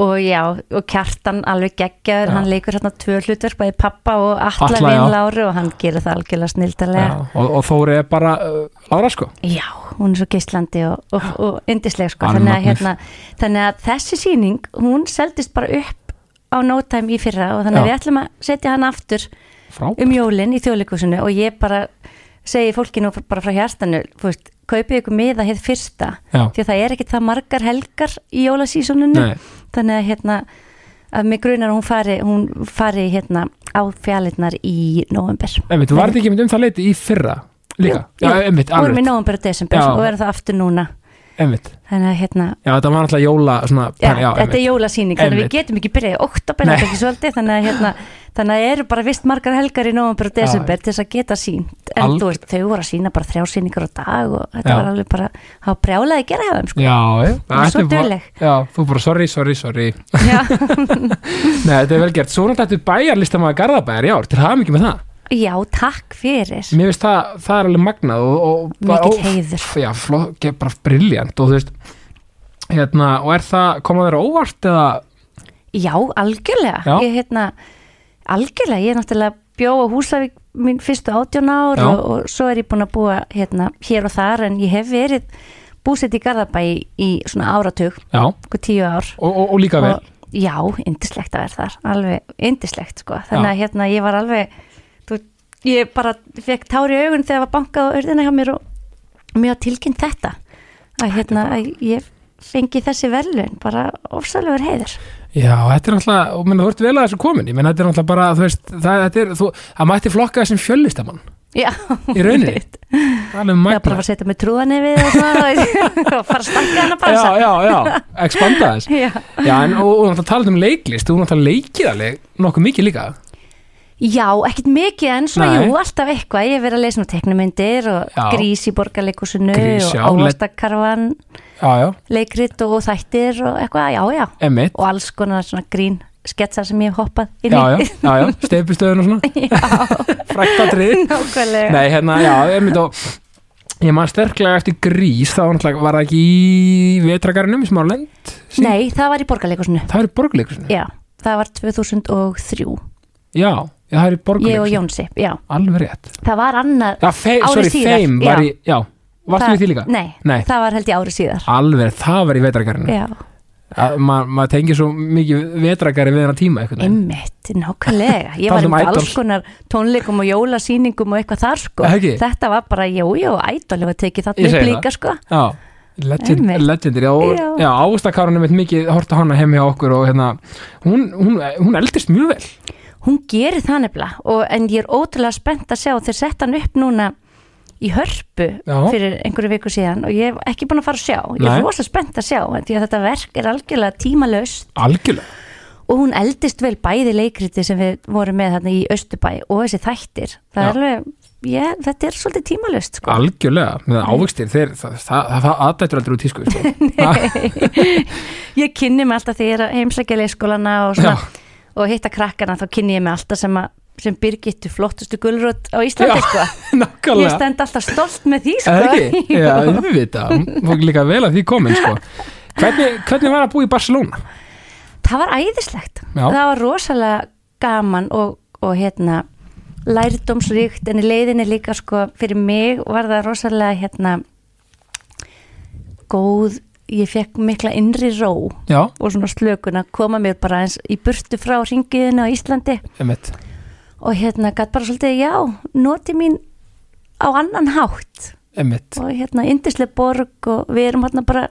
B: og já, og kjartan alveg geggjaður,
A: Já.
B: hann leikur hérna tvö hlutverk bæði pappa og alla
A: Atla,
B: vinn
A: já.
B: Láru og hann gerir það algjörlega
A: já,
B: snildarlega
A: og, og Þóri er bara, uh, Lára sko,
B: Já, hún er svo geislandi og, og, og indisleg sko,
A: Alveg
B: þannig að,
A: mögnuð.
B: hérna, þannig að þessi sýning, hún seldist bara upp á no time í fyrra og þannig að
A: Já.
B: við ætlum að setja hann aftur
A: frábært
B: um jólin í þjóðleikusinu og ég bara segi fólkinu bara frá hjartanu þú veist, kaupið ykkur miða hér fyrsta
A: já,
B: því að það er ekkit það margar helgar í jólasísoninu
A: nei,
B: þannig að hérna að mig grunar að hún fari, hún fari hérna á fjallinnar í november
A: einmitt, var þetta ekki einmitt um það leiti í fyrra líka,
B: Jú,
A: já,
B: jú.
A: einmitt,
B: vorum í
A: alveg,
B: november og desember
A: Já.
B: og verðum það aftur núna
A: einmitt
B: þannig að hérna
A: já, þetta var náttúrulega jóla svona,
B: Já,
A: já,
B: þetta er jólasýning, þannig að
A: Einmitt.
B: við getum ekki byrjað í oktober,
A: Nei.
B: þetta er ekki svolítið, þannig að, hérna, þannig að það eru bara vist margar helgar í november og desember til þess að geta sínt, en
A: Alg-
B: þú veist, þau voru að sína bara þrjá síningar á dag og þetta
A: Já.
B: var alveg bara, það var brjálaði að gera hjá þeim, sko.
A: já, já,
B: Hún er svo
A: þetta var-
B: dugleg.
A: já, þú bara sorry, sorry, sorry
B: Já,
A: nei, þetta er vel gert, svo náttúrulega þetta er bæjarlistamaður Garðabæjar í ár, til hafa mikið með það
B: já, takk fyrir,
A: mér finnst það, það er alveg magnað og, og bara-
B: mikill
A: ó,
B: heiður.
A: já, flott, ge- bara briljant og þú veist hérna, og er það, koma þeirra óvart eða,
B: Já, algjörlega,
A: Já.
B: ég hérna, algjörlega, ég er náttúrulega bjó á Húsavík mín fyrstu átjón ár
A: Já.
B: og, og svo er ég búin að búa hérna, hér og þar, en ég hef verið búsett í Garðabæ í, í svona áratug,
A: já, og,
B: okkur tíu ár.
A: og, og líka vel
B: og, já, indislegt að vera þar alveg indislegt sko þannig að hérna ég var alveg þú, ég bara fekk tár í augun þegar var bankað á örðina hjá mér og mjög tilkynnt þetta að hérna að ég fengi þessi verðlun bara ofsalvegur heiður
A: Já, þetta er náttúrulega, og menn þú ert vel að þessu komin ég menn þetta er náttúrulega bara, þú veist það, þetta er, þú, það mætti flokka þessum fjöllistamann
B: já,
A: í rauninni,
B: einmitt.
A: það er alveg
B: ég bara
A: magna
B: var að setja með trúðan yfir og svona og fara að stakka hana
A: Já,
B: bara já,
A: já, já, expanda þess
B: já.
A: Já, en og, og náttúrulega talað um leiklist, þú náttúrulega leikir alveg nokkuð mikið líka
B: já, ekkert mikið en svona
A: Nei.
B: jú, alltaf eitthvað ég hef verið að lesa nú teknumyndir og
A: Já.
B: grís í borgarleikusinu
A: Grís, já,
B: og
A: let-
B: ávastakarvan
A: Já, já,
B: leikrit og þættir og eitthvað, já, já
A: emmitt
B: og alls konar svona grín sketsar sem ég hef hoppað inn
A: Já, já,
B: í
A: já, já, steypistöðun og svona Fræktadrið
B: nákvæmlega
A: Nei, hérna, já, einmitt og ég man sterklega eftir grís þá náttúrulega var það ekki í vetragarinum í Smáralind sí-
B: Nei, það var í borgarleikusinu
A: Það er í borgleikusinu
B: já, það var 2003
A: Já, já, það er í
B: ég og
A: borgleikusinu
B: Jónsi, já,
A: Alveg rétt
B: það var annað
A: Já, fe
B: Ári
A: sorry,
B: síðar,
A: Fame var í, já, varstu
B: það-
A: við því líka?
B: Nei,
A: Nei.
B: það var held ég ári síðar
A: Alveg, það var í vetragarinu
B: já,
A: Maður ma tengir svo mikið vetragari við hennar tíma einhvern veginn
B: einmitt, nákvæmlega ég var
A: Talandi um
B: með alls
A: Idols.
B: konar tónleikum og jólasýningum og eitthvað þar sko
A: Ekki?
B: þetta var bara, jú, jú, ædol hefur tekið
A: Ég
B: þarna upp
A: segi það.
B: líka sko
A: Já, legend,
B: Einmitt.
A: legendir Já, og-
B: Já.
A: já ástakarunum mitt mikið horta hana heim hjá okkur og hérna hún, hún, hún eldist mjög vel
B: hún gerir það nefnilega og, en ég er ótrúlega spennt að sjá þeir sett hann upp núna í hörpu
A: Já.
B: fyrir einhverju viku síðan og ég hef ekki búin að fara að sjá ég
A: Nei.
B: er rosa spennt að sjá en því að þetta verk er algjörlega tímalaust
A: Algjörlega
B: og hún eldist vel bæði leikriti sem við vorum með þarna í Östubæ og þessi þættir
A: Já.
B: það er alveg, ég, þetta er svolítið tímalaust sko.
A: Algjörlega, með ávegstir þeir, það, það, það, það aðdættur aldrei úr tísku sko.
B: ég kynni mig alltaf þegar ég er að heimsækja leikskólana og, svona, og hitta krakkana þá kynni ég mig alltaf sem, að, sem Birgittu flottustu gulrót á Íslandi
A: Já.
B: sko. Ég
A: Nákvæmlega
B: stend alltaf stolt með því sko.
A: Er það ekki? Já, við vita, hún fók líka vel að því komin sko. hvernig, hvernig var að búa í Barcelona?
B: Það var æðislegt.
A: Já.
B: Það var rosalega gaman og, og hérna lærdómsríkt en í leiðinni líka sko fyrir mig var það rosalega hérna góð, ég fekk mikla innri ró og
A: Já,
B: svona slökun að koma mér bara eins í burtu frá ringiðinu á Íslandi
A: emitt
B: og hérna gætt bara svolítið já, noti mín á annan hátt
A: Emitt,
B: og hérna yndislega borg og við erum hérna bara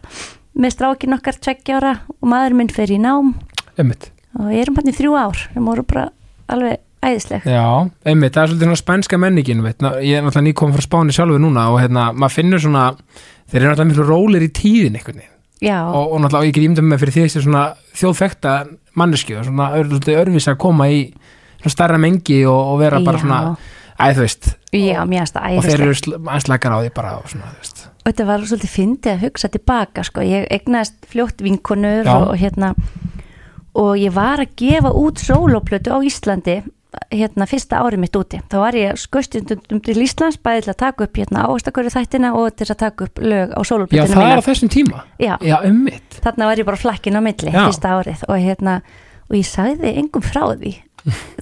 B: með strákin okkar tveggjára og maður minn fer í nám
A: emitt
B: og við erum hann í þrjú ár við vorum bara alveg æðisleg
A: Já, einmitt, það er svolítið svona spænska menningin veit. Ná, ég er náttúrulega nýkom frá Spáni sjálfur núna og hérna, maður finnur svona þeir eru náttúrulega miklu rólir í tíðin einhvern veginn
B: já,
A: og, og náttúrulega ég get ímyndað með fyrir því þessi svona þjóðfekta manneski og svona ör- svolítið örvis að koma í svona starra mengi og, og vera bara
B: Já.
A: svona æ, þú veist,
B: já, mér finnst það
A: og þeir
B: æðisleg
A: eru sl- aðeins slakar á því bara og svona, þú veist
B: og þetta var svolítið fyndið að hugsa tilbaka sko. ég egnaðist fljótt vinkonur
A: Já.
B: og, og hérna og ég var að gefa út sólóplötu á Íslandi hérna fyrsta árið mitt úti þá var ég skustundum til Íslands bæði til að taka upp hérna ástaköru þættina og til að taka upp lög á
A: Já,
B: sólóplötinu
A: það er á þessum tíma
B: Já.
A: Já einmitt
B: þarna var ég bara flakkin á milli
A: Já.
B: fyrsta árið og hérna og ég sagði engum frá því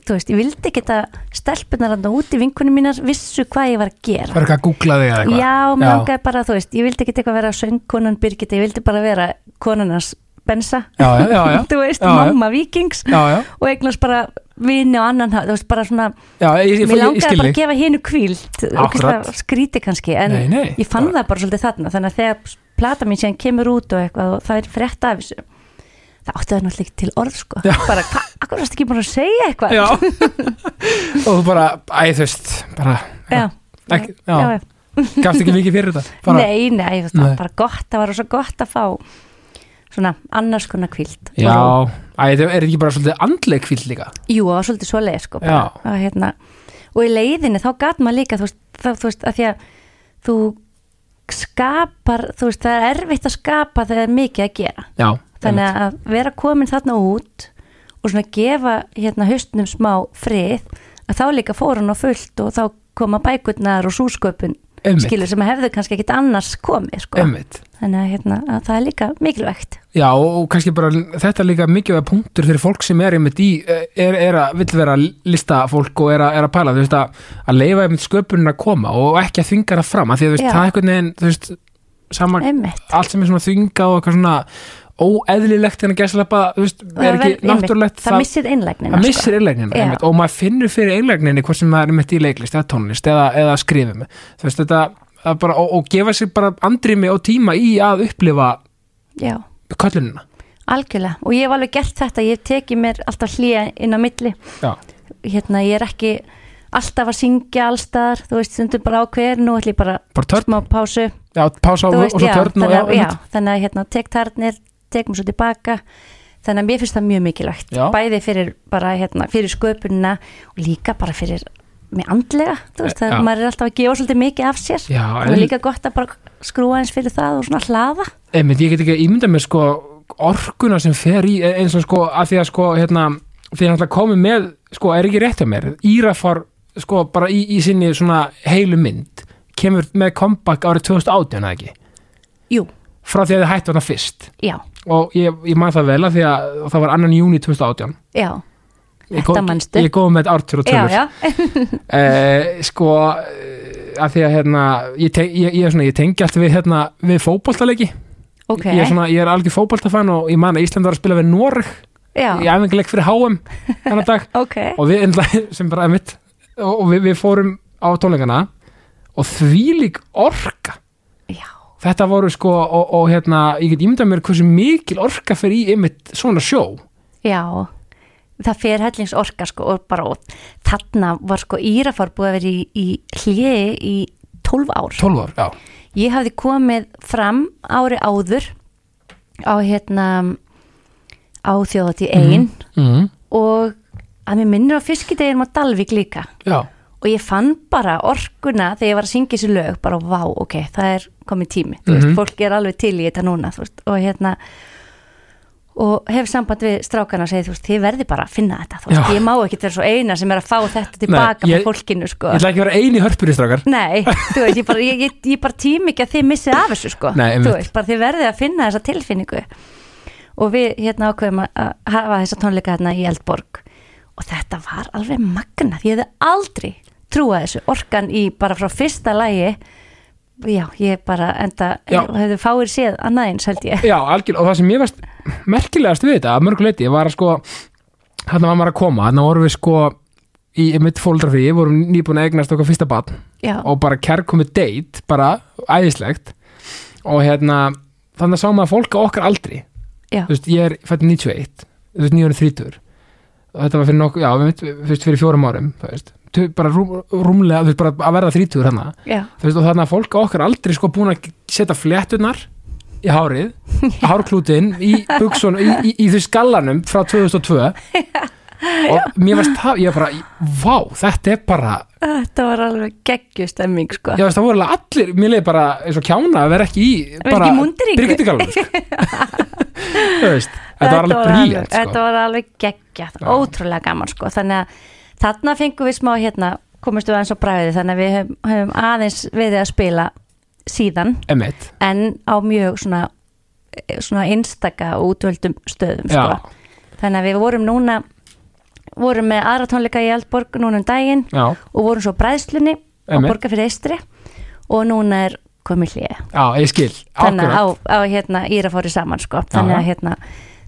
B: þú veist, ég vildi ekki að stelpunar hann úti vinkunum mínar vissu hvað ég var að gera
A: Það er eitthvað að googla þig eða eitthvað
B: já, mér langaði bara, þú veist, ég vildi ekki eitthvað vera söngkonan Birgitta, ég vildi bara vera konanars bensa
A: já, já, já, já.
B: þú veist,
A: Já, já.
B: mamma vikings
A: já, já,
B: og eignast bara vini og annan hátt, þú veist, bara svona
A: já, ég, ég, ég, ég,
B: mér
A: ég
B: langaði
A: skil
B: bara að
A: þig
B: gefa hinu kvíld
A: Akkurat.
B: skríti kannski, en
A: Nei, nei,
B: ég fann
A: bara-
B: það bara svolítið þarna, þannig að þegar plata mín síðan kemur út og eitthvað og það er frétta af þessu það átti það náttúrulega ekki til orð sko,
A: Já.
B: bara hvað, akkur varst ekki búin að segja eitthvað
A: já og þú bara, æ, þú veist bara,
B: já,
A: ekki, já,
B: já, já.
A: gafst ekki mikið fyrir þetta bara,
B: nei, nei, þú veist, það
A: Nei.
B: var bara gott það var svo gott að fá svona annars konar kvíld
A: já, æ, þetta er ekki bara svolítið andleg kvíl líka
B: Jú, það var svolítið svoleið sko bara,
A: Já.
B: að, hérna, og í leiðinni þá gat maður líka þú veist, þá, þú veist, að því að þú skapar, þú veist, það er erfitt að skapa þegar það er mikið að gera
A: já, einmitt.
B: þannig að vera komin þarna út og svona gefa hérna haustnum smá frið að þá líka fór hann á fullt og þá koma bækurnar og súsköpun
A: Einmitt.
B: skilur sem hefðu kannski ekkit annars komið sko,
A: einmitt
B: þannig að, hérna, að það er líka mikilvægt
A: Já, og og kannski bara þetta er líka mikilvæg punktur fyrir fólk sem er einmitt í, eh, er, er að, vill vera listafólk og er að, er að pæla, þú veist, að, að leifa einmitt sköpunin að koma og ekki að þvinga það fram, að því að þú veist,
B: Já.
A: það er einhvern veginn, þú veist, sama,
B: einmitt,
A: allt sem er svona þvinga og eitthvað svona óeðlilegt en að gæslepa, þú veist,
B: Það
A: er
B: verð-
A: ekki
B: einmitt,
A: náttúrulegt,
B: það missir einlægnina sko.
A: það missir einlægnina
B: Já.
A: einmitt, og maður finnur fyrir einlægninni hvort sem maður er einmitt í leiklist eða tónlist eða, eða skrifum þú veist, þetta, það er bara, og, og gefa sér bara andrými og tíma í að upplifa
B: já
A: köllunina
B: Algjörlega, og ég hef alveg gert þetta, ég hef tekið mér alltaf hlýja inn á milli,
A: Já.
B: hérna ég er ekki alltaf að syngja allstaðar, þú veist, stundum bara ákveður, nú ætlum ég bara
A: bara törn,
B: smá pásu,
A: já, pása
B: þú
A: og,
B: veist,
A: og svo törn og,
B: þannig, að-
A: já,
B: já, þannig að hérna tek tarnir, tek mér svo tilbaka, þannig að mér finnst það mjög mikilvægt,
A: Já.
B: bæði fyrir bara, hérna, fyrir sköpunina og líka bara fyrir mér andlega, þú veist,
A: Já.
B: það, maður er alltaf að gefa svolítið mikið af sér,
A: Já,
B: og
A: en-
B: líka gott að bara skrúa eins fyrir það og svona hlaða,
A: einmitt, ég get ekki að ímynda mér sko orkuna sem fer í eins og sko að því að sko hérna því að náttúrulega komið með, sko er ekki rétt hjá mér Írafar sko bara í, í sinni svona heilu mynd kemur með comeback árið 2018 eða ekki
B: jú,
A: frá því að þið hættu hana fyrst
B: já,
A: og ég, ég man það vel að því að það var annan júni 2018
B: já,
A: Ég
B: Þetta
A: kom-
B: manstu.
A: Ég kom með ártur og
B: já,
A: tölur
B: já,
A: Eh, sko eh, að því að hérna ég, te ég, ég, er svona, ég tengi allt við, hérna, við fótboltaleiki
B: ok,
A: ég, er svona, ég er algjör fótboltafann og ég man að Ísland var að spila við Noreg
B: já.
A: í æfinguleik fyrir HM þennan dag
B: Ok,
A: og við enda- sem bara er mitt og, og við, við fórum á tónleikana og þvílík orka
B: já,
A: þetta voru sko og, og hérna ég get ímyndað mér hversu mikil orka fyrir í einmitt svona sjó
B: já það fer hellings orka sko og bara og þarna var sko Írafár búið að vera í, í hliði í 12 ár.
A: 12 ár, já,
B: Ég hafði komið fram ári áður á hérna á þjóðatíð ein
A: mm,
B: og að mér minnir á fiskideginum á Dalvík líka
A: já.
B: og ég fann bara orkuna þegar ég var að syngja þessi lög bara vá, ok, það er komið tími þú veist,
A: Mhm.
B: fólk er alveg til í þetta núna þú veist, og hérna og hef samband við strákana og segi þú veist, þið verði bara að finna þetta þú veist,
A: Já.
B: ég má ekkit vera svo eina sem er að fá þetta tilbaka
A: Nei, ég-
B: frá fólkinu sko
A: Ég ætla ekki að vera eini hörpuristrákar
B: Nei, þú veist, ég bara, ég, ég, ég bara tími ekki að þið missið af þessu sko
A: Nei, einmitt.
B: Þú veist, bara þið verðið að finna þessa tilfinningu Og við hérna ákveðum að- að hafa þessa tónleika hérna í Eldborg Og þetta var alveg magnað, ég hefði aldrei trúað þessu Orkan í bara frá fyrsta lagi Já, ég bara enda,
A: Já.
B: hefði fáir séð annað eins held ég
A: Já, algjörlega, og það sem ég varst merkilegast við þetta, að mörgu leiti, var að sko hann var maður að koma, þannig vorum við sko í mitt fóldrafí, vorum nýbúin að eignast okkar fyrsta barn
B: Já,
A: og bara kærkomið date, bara æðislegt og hérna þannig að sá maður fólk á okkar aldri
B: já,
A: þú veist, ég er fættið 91 þú veist, 930 og þetta var fyrir nokkuð, já, við veist, fyrir fjórum árum þú veist, Tu- bara rúm, rúmlega þú veist, bara að verða 30 hann
B: já,
A: þú veist, og þannig að fólk á okkar aldrei sko búin að setja fléttunar í hárið, hárklútin í buksun, í, í, í því skallanum frá 2002 og mér varst það, ég var bara vá, þetta er bara,
B: þetta var alveg geggjustemming sko
A: ég veist það voru alveg allir, mér leið bara eins og kjána að vera ekki í,
B: vera
A: bara,
B: ekki í múnderingu.
A: byrgitugalum sko. þú veist, þetta var alveg
B: alveg-
A: bríjant
B: Þetta
A: sko.
B: var alveg geggjað,
A: Já.
B: ótrúlega gaman sko Þannig að þarna fengum við smá hérna komumst við aðeins á bræði þannig að við höfum, höfum aðeins verið að spila síðan
A: emitt,
B: en á mjög svona, svona einstaka og útvöldum stöðum
A: já,
B: sko. þannig að við vorum núna vorum með aðra tónleika í Eldborg núna um daginn
A: já
B: og vorum svo á bræðslunni á
A: Einmitt.
B: borga fyrir eistri og núna er komið hlýja
A: já, ég skil,
B: þannig
A: akkurat
B: að á, á hérna írafóri saman sko þannig að
A: Aha.
B: hérna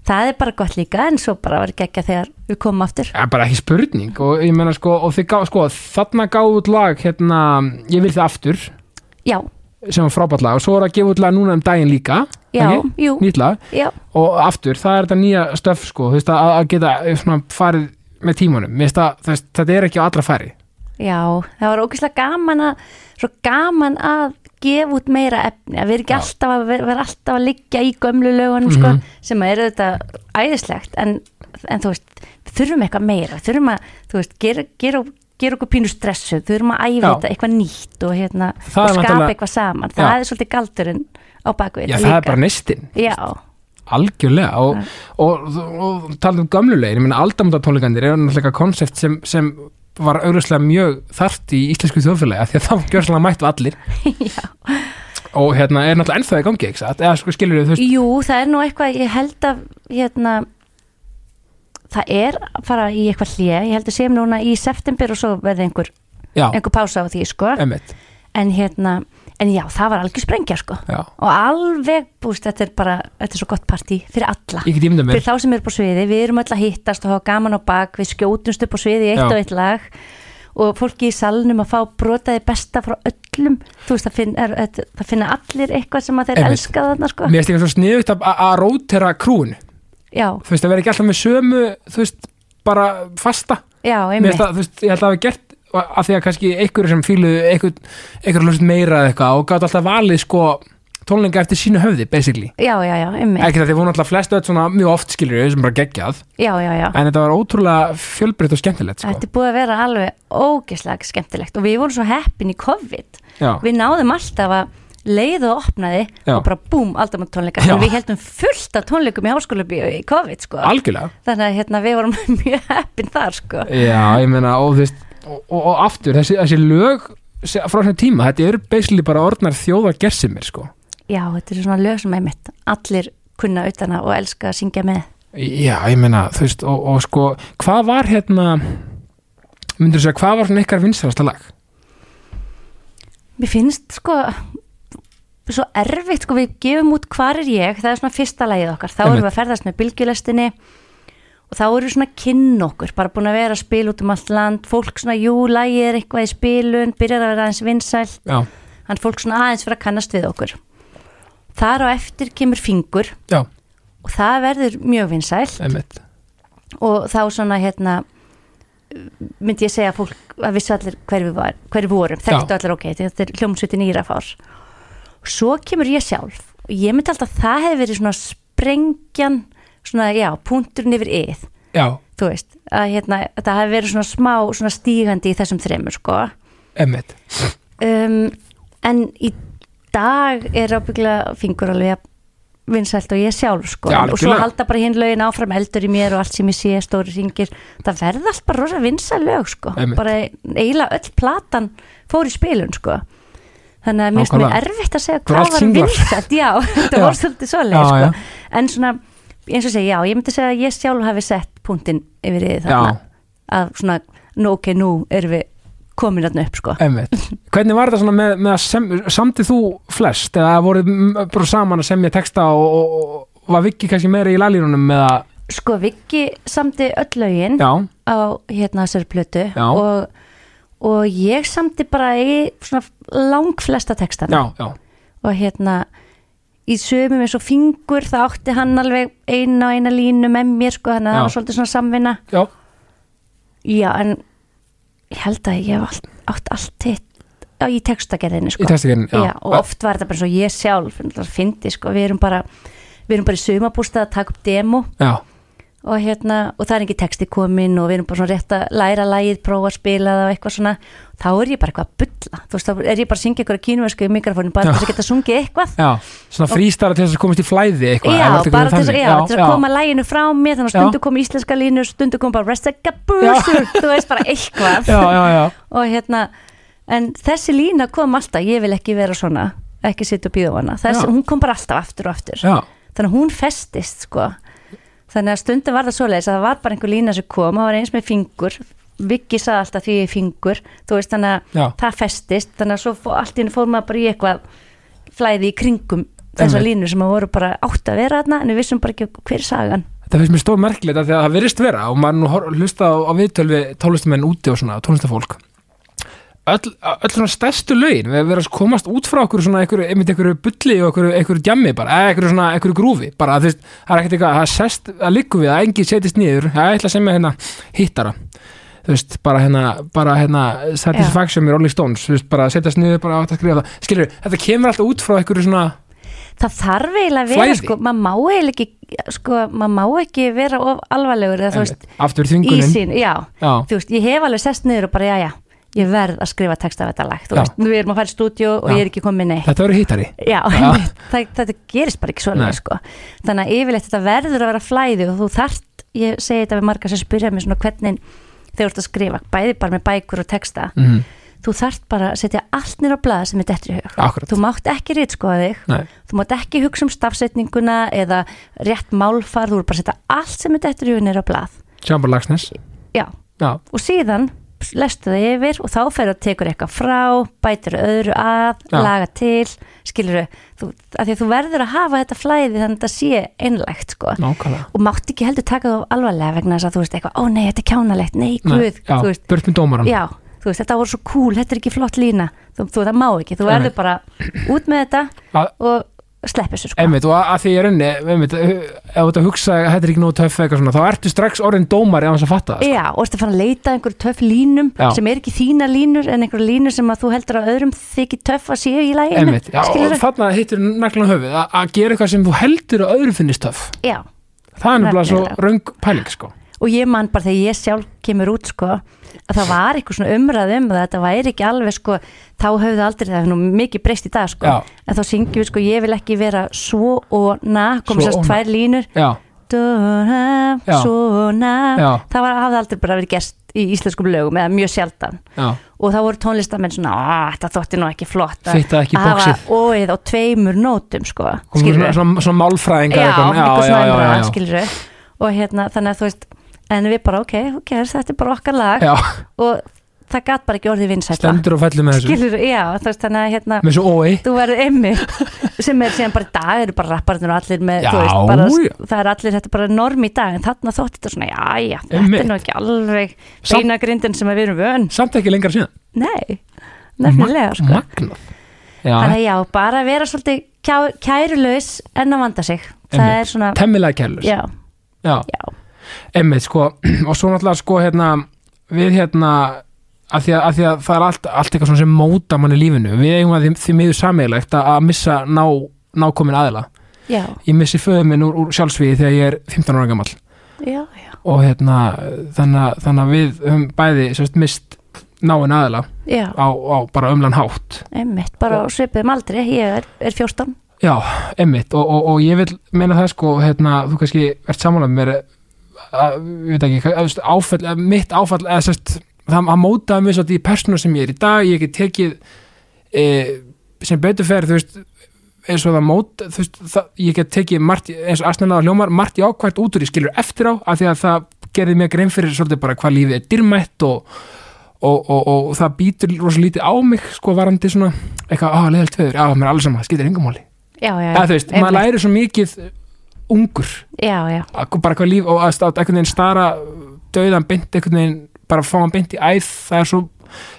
B: það er bara gott líka en svo bara var ekki ekki þegar við komum aftur
A: Það er bara ekki spurning og ég meina sko, og þið gá, sko, þarna gáðu út lag hérna, ég vil það aftur
B: já,
A: sem var frábært lag og svo er að gefa út lag núna um daginn líka
B: já,
A: ekki?
B: jú,
A: nýtt lag
B: já,
A: og aftur, það er þetta nýja stöf sko, þú veist, að, að geta eh, svona, farið með tímanum, Mér finnst að, þú veist, þetta er ekki á allra færi
B: já það var ógeðslega gaman að svo gaman að gefa út meira efni að við erum ekki
A: Já.
B: alltaf að vera, vera alltaf að liggja í gömlu lögunum
A: Mhm.
B: sko sem að eru þetta æðislegt en, en þú veist, við þurfum eitthvað meira við þurfum að, þú veist, gera, gera, gera okkur pínu stressu, þurfum að æfa
A: Já.
B: þetta eitthvað nýtt og hérna
A: Það
B: og
A: er
B: skapa
A: náttúrulega-
B: eitthvað
A: Já.
B: saman, það er svolítið galdurinn á bakvið
A: Já, það er bara neistinn,
B: Já,
A: algjörlega og, og, og, og talað um gömlulegin, ég meina aldamótatónleikandir er náttúrulega konsept sem, sem var auðvitað mjög þarft í íslensku þjóðfélagi af því að það var gjörðslega mætt af allir
B: já.
A: og hérna er náttúrulega ennþá í gangi ekki satt, eða sko skilur þú veist
B: Jú, það er nú eitthvað, ég held að hérna, það er að fara í eitthvað hlje, ég held að séum núna í september og svo verði einhver,
A: já,
B: einhver pása á því, sko
A: emmitt,
B: en hérna, en já, það var algjör sprengja, sko,
A: já
B: og alveg búst, þetta er bara, þetta er svo gott partí fyrir alla,
A: ég get ímynda mér,
B: fyrir þá sem eru på sviði við erum öll að hittast og hafa gaman á bak við skjótumst upp á sviði í eitt
A: Já.
B: og eitt lag og fólki í salnum að fá brotaði besta frá öllum þú veist, það finna, er, þetta- það finna allir eitthvað sem að þeir
A: Einmitt.
B: elska þarna, sko
A: mér finnst ekki svo sniðugt að að rótera krúin,
B: já,
A: þú veist að vera ekki alltaf með sömu, þú veist, bara fasta,
B: já,
A: mér
B: einmitt
A: finnst það, þú veist, ég held að hafa gert að því að kannski einhverju sem fíluðu einhverju einhver hlust meira eða eitthvað og gátt alltaf valið sko tónleika eftir sínu höfði, basically
B: já, já, já, einmitt
A: ekki það því voru alltaf flest öll svona mjög oft skilur sem bara geggjað,
B: já, já, já.
A: en þetta var ótrúlega fjölbreytt og skemmtilegt sko
B: Þetta er búið að vera alveg ógeðslega skemmtilegt og við vorum svo heppin í COVID
A: Já,
B: við náðum alltaf að leiðu og opnaði
A: Já.
B: og bara búm, aldamönd tónleika
A: Já.
B: en við heldum fullt af tónleikum í háskólabíu í COVID sko
A: algjörlega
B: þannig að hérna, við vorum mjög heppin þar sko
A: Já, ég meina, og þú veist og, og, og aftur, þessi, þessi lög se- frá þessum tíma, þetta eru basically bara orðnar þjóða gersimir sko
B: Já, þetta er svona lög sem er mitt allir kunna utana og elska að syngja með
A: Já, ég meina, þú veist, og, og sko hvað var hérna myndur þú segja, hvað var svona ykkar vinsalasta lag?
B: Mér finnst sko svo erfitt sko við gefum út hvar er ég það er svona fyrsta lagið okkar þá erum við að ferðast með bylgjulestinni og þá erum við svona að kynna okkur bara búin að vera að spila út um allt land fólk svona jú, lagið er eitthvað í spilun byrjar að vera aðeins vinsæl
A: Já,
B: hann fólk svona aðeins fyrir að kannast við okkur þar á eftir kemur fingur
A: já,
B: og það verður mjög vinsæl
A: einmitt
B: og þá svona hérna myndi ég segja að fólk að vissu allir hver við, var, hver við vorum þekktu allir ok, þetta er hljómsveitin írafár svo kemur ég sjálf og ég myndi alltaf að það hefði verið svona sprengjan, svona já, punkturinn yfir yð,
A: Já,
B: þú veist að hérna, að það hefði verið svona smá svona stígandi í þessum þremur sko
A: emmitt
B: um, en í dag er ábyggla fingur alveg að vinsælt og ég sjálf sko
A: Já,
B: og svo
A: algjörlega.
B: halda bara hinn lögin áfram eldur í mér og allt sem ég sé, stóri ringir það verða allt bara rosa vinsæl lög sko
A: Einmitt.
B: bara eiginlega öll platan fór í spilun sko þannig að mér finnst mér
A: Nákvæmlega.
B: erfitt að segja
A: Þetta voru
B: hvað
A: allt
B: var
A: singlar.
B: vinsælt já, þetta
A: Já.
B: var svolítið svoleið
A: Já,
B: sko.
A: já.
B: en svona, eins og segja, já, ég myndi segja að ég sjálf hafi sett punktinn yfir því
A: Já,
B: þarna að svona, nú ok, nú erum við komin þarna upp sko
A: emmitt Hvernig var þetta svona með, með að sem, samtið þú flest eða voru bara saman að semja texta og, og, og var Viki kannski meira í lalírunum með að,
B: Sko, Viki samti öll lögin
A: já,
B: á hérna þessari plötu
A: Já.
B: og, og ég samti bara í svona langflesta textana
A: já, já
B: og hérna í sömum eins og fingur það átti hann alveg eina og eina línu með mér sko, þannig að
A: Já.
B: það var svolítið svona samvinna
A: Já,
B: Já, en ég held að ég hef allt, átt allt hitt á, í textagerðinni sko
A: í testakernin, já,
B: já, og oft var þetta bara svo ég sjálf fyndi sko, við erum bara við erum bara í sömabústað að taka upp demo
A: já,
B: og, hérna, og það er ekki texti komin og við erum bara svona rétt að læra lægið, prófa að spila það og eitthvað svona þá er ég bara eitthvað að bulla þú veist, þá er ég bara að syngja eitthvað kínversku í mikrofónu
A: Já.
B: bara til þess að geta sungið eitthvað
A: já Svona frístara til þess að komast í flæði eitthvað
B: já,
A: eða allt eitthvað
B: bara til þess,
A: þannig.
B: já, til þess að koma læginu frá mér þannig að
A: Já.
B: stundu kom íslenska línu stundu kom bara restega brúsur þú veist bara eitthvað
A: Já, já, já,
B: og hérna, en þessi lína kom alltaf, ég vil ekki vera svona ekki sitja og býða á hana, þessi,
A: Já.
B: hún kom bara alltaf aftur og aftur
A: já,
B: þannig að hún festist sko þannig að stundum var það svoleiðis að það var bara einhver lína sem kom, það var eins með fingur Viggi sagði alltaf því ég er fingur þú veist þannig að
A: já,
B: það festist þannig að svo fó- allt í henni fór maður bara í eitthvað flæði í kringum þessa
A: Einmitt.
B: línu sem að voru bara átt að vera þarna en við vissum bara ekki hver er sagan
A: Þetta finnst mér stóð merkilegt af því að það virðist vera og maður nú hor- hlusta á, á viðtöl við tónlistamenn úti og svona, tónlistafólk öll, öll svona stærstu lögin við verðum að komast út frá okkur svona einhverju, einmitt einhverju bulli og einhverju, einhverju djammi bara, eða einhverju svona, einhverju grúfi bara, þú veist, það er ekkert eitthvað, það sest það liggur við, að enginn setjast niður, það ætla sem er hérna hittara, þú veist, bara hérna bara hérna, satisfaction með Rolling Stones, þú veist, bara setjast niður, bara átt að skrifa það, skilur, þetta kemur alltaf út frá einhverju svona,
B: það þarf eiginlega að vera
A: Flæði.
B: sko, maður má eiginlega ekki sko, maður má ekki vera of alvarlegur eða þú veist,
A: aftur
B: í
A: þvingunin
B: sín já,
A: já,
B: þú veist, ég hef alveg sest niður og bara, já, já, ég verð að skrifa texta af þetta lag, þú
A: Já.
B: veist, við erum að fara í stúdíu og
A: Já.
B: ég er ekki komin neitt
A: þetta verður hittari
B: Já,
A: Já.
B: það, þetta gerist bara
A: Nei.
B: ekki svolítið sko. þannig að yfirleitt þetta verður að vera flæði og þú þart, ég segi þetta við marga sem spyrja mig svona hvernig þegar þú ert að skrifa, bæði bara með bækur og texta
A: mm,
B: þú þart bara að setja allt nýra á blaða sem er dettur í hug
A: akkurat,
B: þú mátt ekki rítskoða þig
A: nei
B: þú mátt ekki hugsa um stafsetninguna eða rétt málfar, þú er bara að setja allt sem er dettur í hug nýra á blað
A: Sjáum bara Lagsnes
B: Já,
A: Já,
B: og síðan lestu það yfir og þá fer að tekur eitthvað frá bætir öðru að,
A: Já.
B: laga til skilur þú, af því að þú verður að hafa þetta flæði þannig að þetta sé einlægt sko.
A: nákvæmlega
B: og mátt ekki heldur taka það alvarlega vegna þess að þú veist eitthvað, ó nei, þetta er kjánalegt nei,
A: Nei,
B: guð, þú
A: já,
B: veist
A: burt með dómaran
B: já, þú veist, þetta voru svo cool, þetta er ekki flott lína þú, þú það má ekki, þú
A: Nei.
B: verður bara út með þetta
A: Að-
B: og slepp þessu sko.
A: einmitt, og að að því ég raunni einmitt, ef þú ert að hugsa að þetta er ekki nóg töff eða eitthvað svona, þá ertu strax orðin dómari á þess að fatta það sko.
B: Já, og ertu að fara að leita að einhverju töff línum
A: Já.
B: sem er ekki þína línur en einhverju línur sem að þú heldur að öðrum þykir töff að séu í læginu
A: einmitt, já, og
B: skilurðu?
A: þarna hittir naglan höfuð að að gera eitthvað sem þú heldur að öðru finnist töff
B: Já,
A: það er nefnilega svo
B: Nefnilega.
A: röng pæling sko.
B: og ég man bara þegar ég sjálf kemur út sko, að það var eitthvað svona umræð um það, þetta væri ekki alveg sko þá höfðu aldrei, það er nú mikið breyst í dag sko,
A: Já.
B: en þá syngjum við sko ég vil ekki vera svo og na komið
A: Svo
B: sérst
A: og na.
B: tvær línur
A: já,
B: Dona,
A: Já.
B: svona
A: Já.
B: það var, hafði aldrei bara verið gerst í íslenskum lögum eða mjög sjaldan
A: já,
B: og þá voru tónlistamenn svona "Ah, þetta þótti nú ekki flott að-
A: Fitta ekki í
B: að
A: boxið."
B: hafa óið á tveimur nótum sko,
A: og svona,
B: skilurðu?
A: svona, svona málfræðingar
B: já,
A: eitthvað,
B: eitthvað svona
A: já, já,
B: umræða,
A: já,
B: skilur og hérna, þannig að þú veist en við bara, ok, ok, þetta er bara okkar lag
A: já,
B: og það gat bara ekki orðið vinsætla
A: stendur og fellur með þessu
B: skilur, já, þú veist, þannig að hérna
A: með svo ói,
B: þú verður emmi sem er síðan bara í dag eru bara rapparnir og allir með,
A: Já,
B: þú veist, bara,
A: já.
B: það er allir þetta er bara norm í dag, en þarna þótti þetta svona já, já, þetta
A: Einmitt.
B: er nú ekki alveg
A: Samt-
B: beina grindin sem við erum vön
A: samt ekki lengra síðan
B: nei, nefnilega, sko
A: magnað já,
B: þannig að já, bara vera svolítið kjá- kærulaus en að vanda sig það
A: Einmitt.
B: er svona,
A: temmilega kærlust
B: já,
A: já.
B: já
A: Einmitt, sko, og svo náttúrulega sko hérna, við hérna að því að, að því að það er allt, allt eitthvað svona sem móta mann í lífinu, við eigum að því, því miður sameigilegt að, að missa ná, nákomin aðila,
B: Já,
A: ég missi föðu minn úr, úr sjálfsvíði þegar ég er 15 ára gamall
B: já, já,
A: og hérna þannig, að- þannig að við höfum bæði sérst mist náin aðila
B: já,
A: á, á bara umlan hátt
B: einmitt, bara á svipuðum aldri, ég er, er 14
A: já, einmitt, og, og, og ég vil meina það sko, hérna, þú kannski ert samanlega með mér að, ég veit ekki, að, veist, áfall, að mitt áfall eða sérst, það að mótaði mér svolítið í persónu sem ég er í dag, ég get tekið e, sem betur fer þú veist, eins og það mót þú veist, það, ég get tekið margt, eins og aðsnaðlega hljómar, margt jákvært út úr ég skilur eftir á af því að það gerði mér grein fyrir svolítið bara hvað lífið er dyrmætt og, og, og, og, það býtur rosa lítið á mig sko varandi svona, eitthvað, á, leðalt veður, á, mér er alls saman, það skiptir engum máli
B: Já, já,
A: eða þú veist, maður
B: Eh, einmitt.
A: læri svo mikið ungur
B: Já, já,
A: að bara hvað líf og að státt einhvern veginn stara döðan beint, einhvern veginn bara fá hann beint í æð, það er svo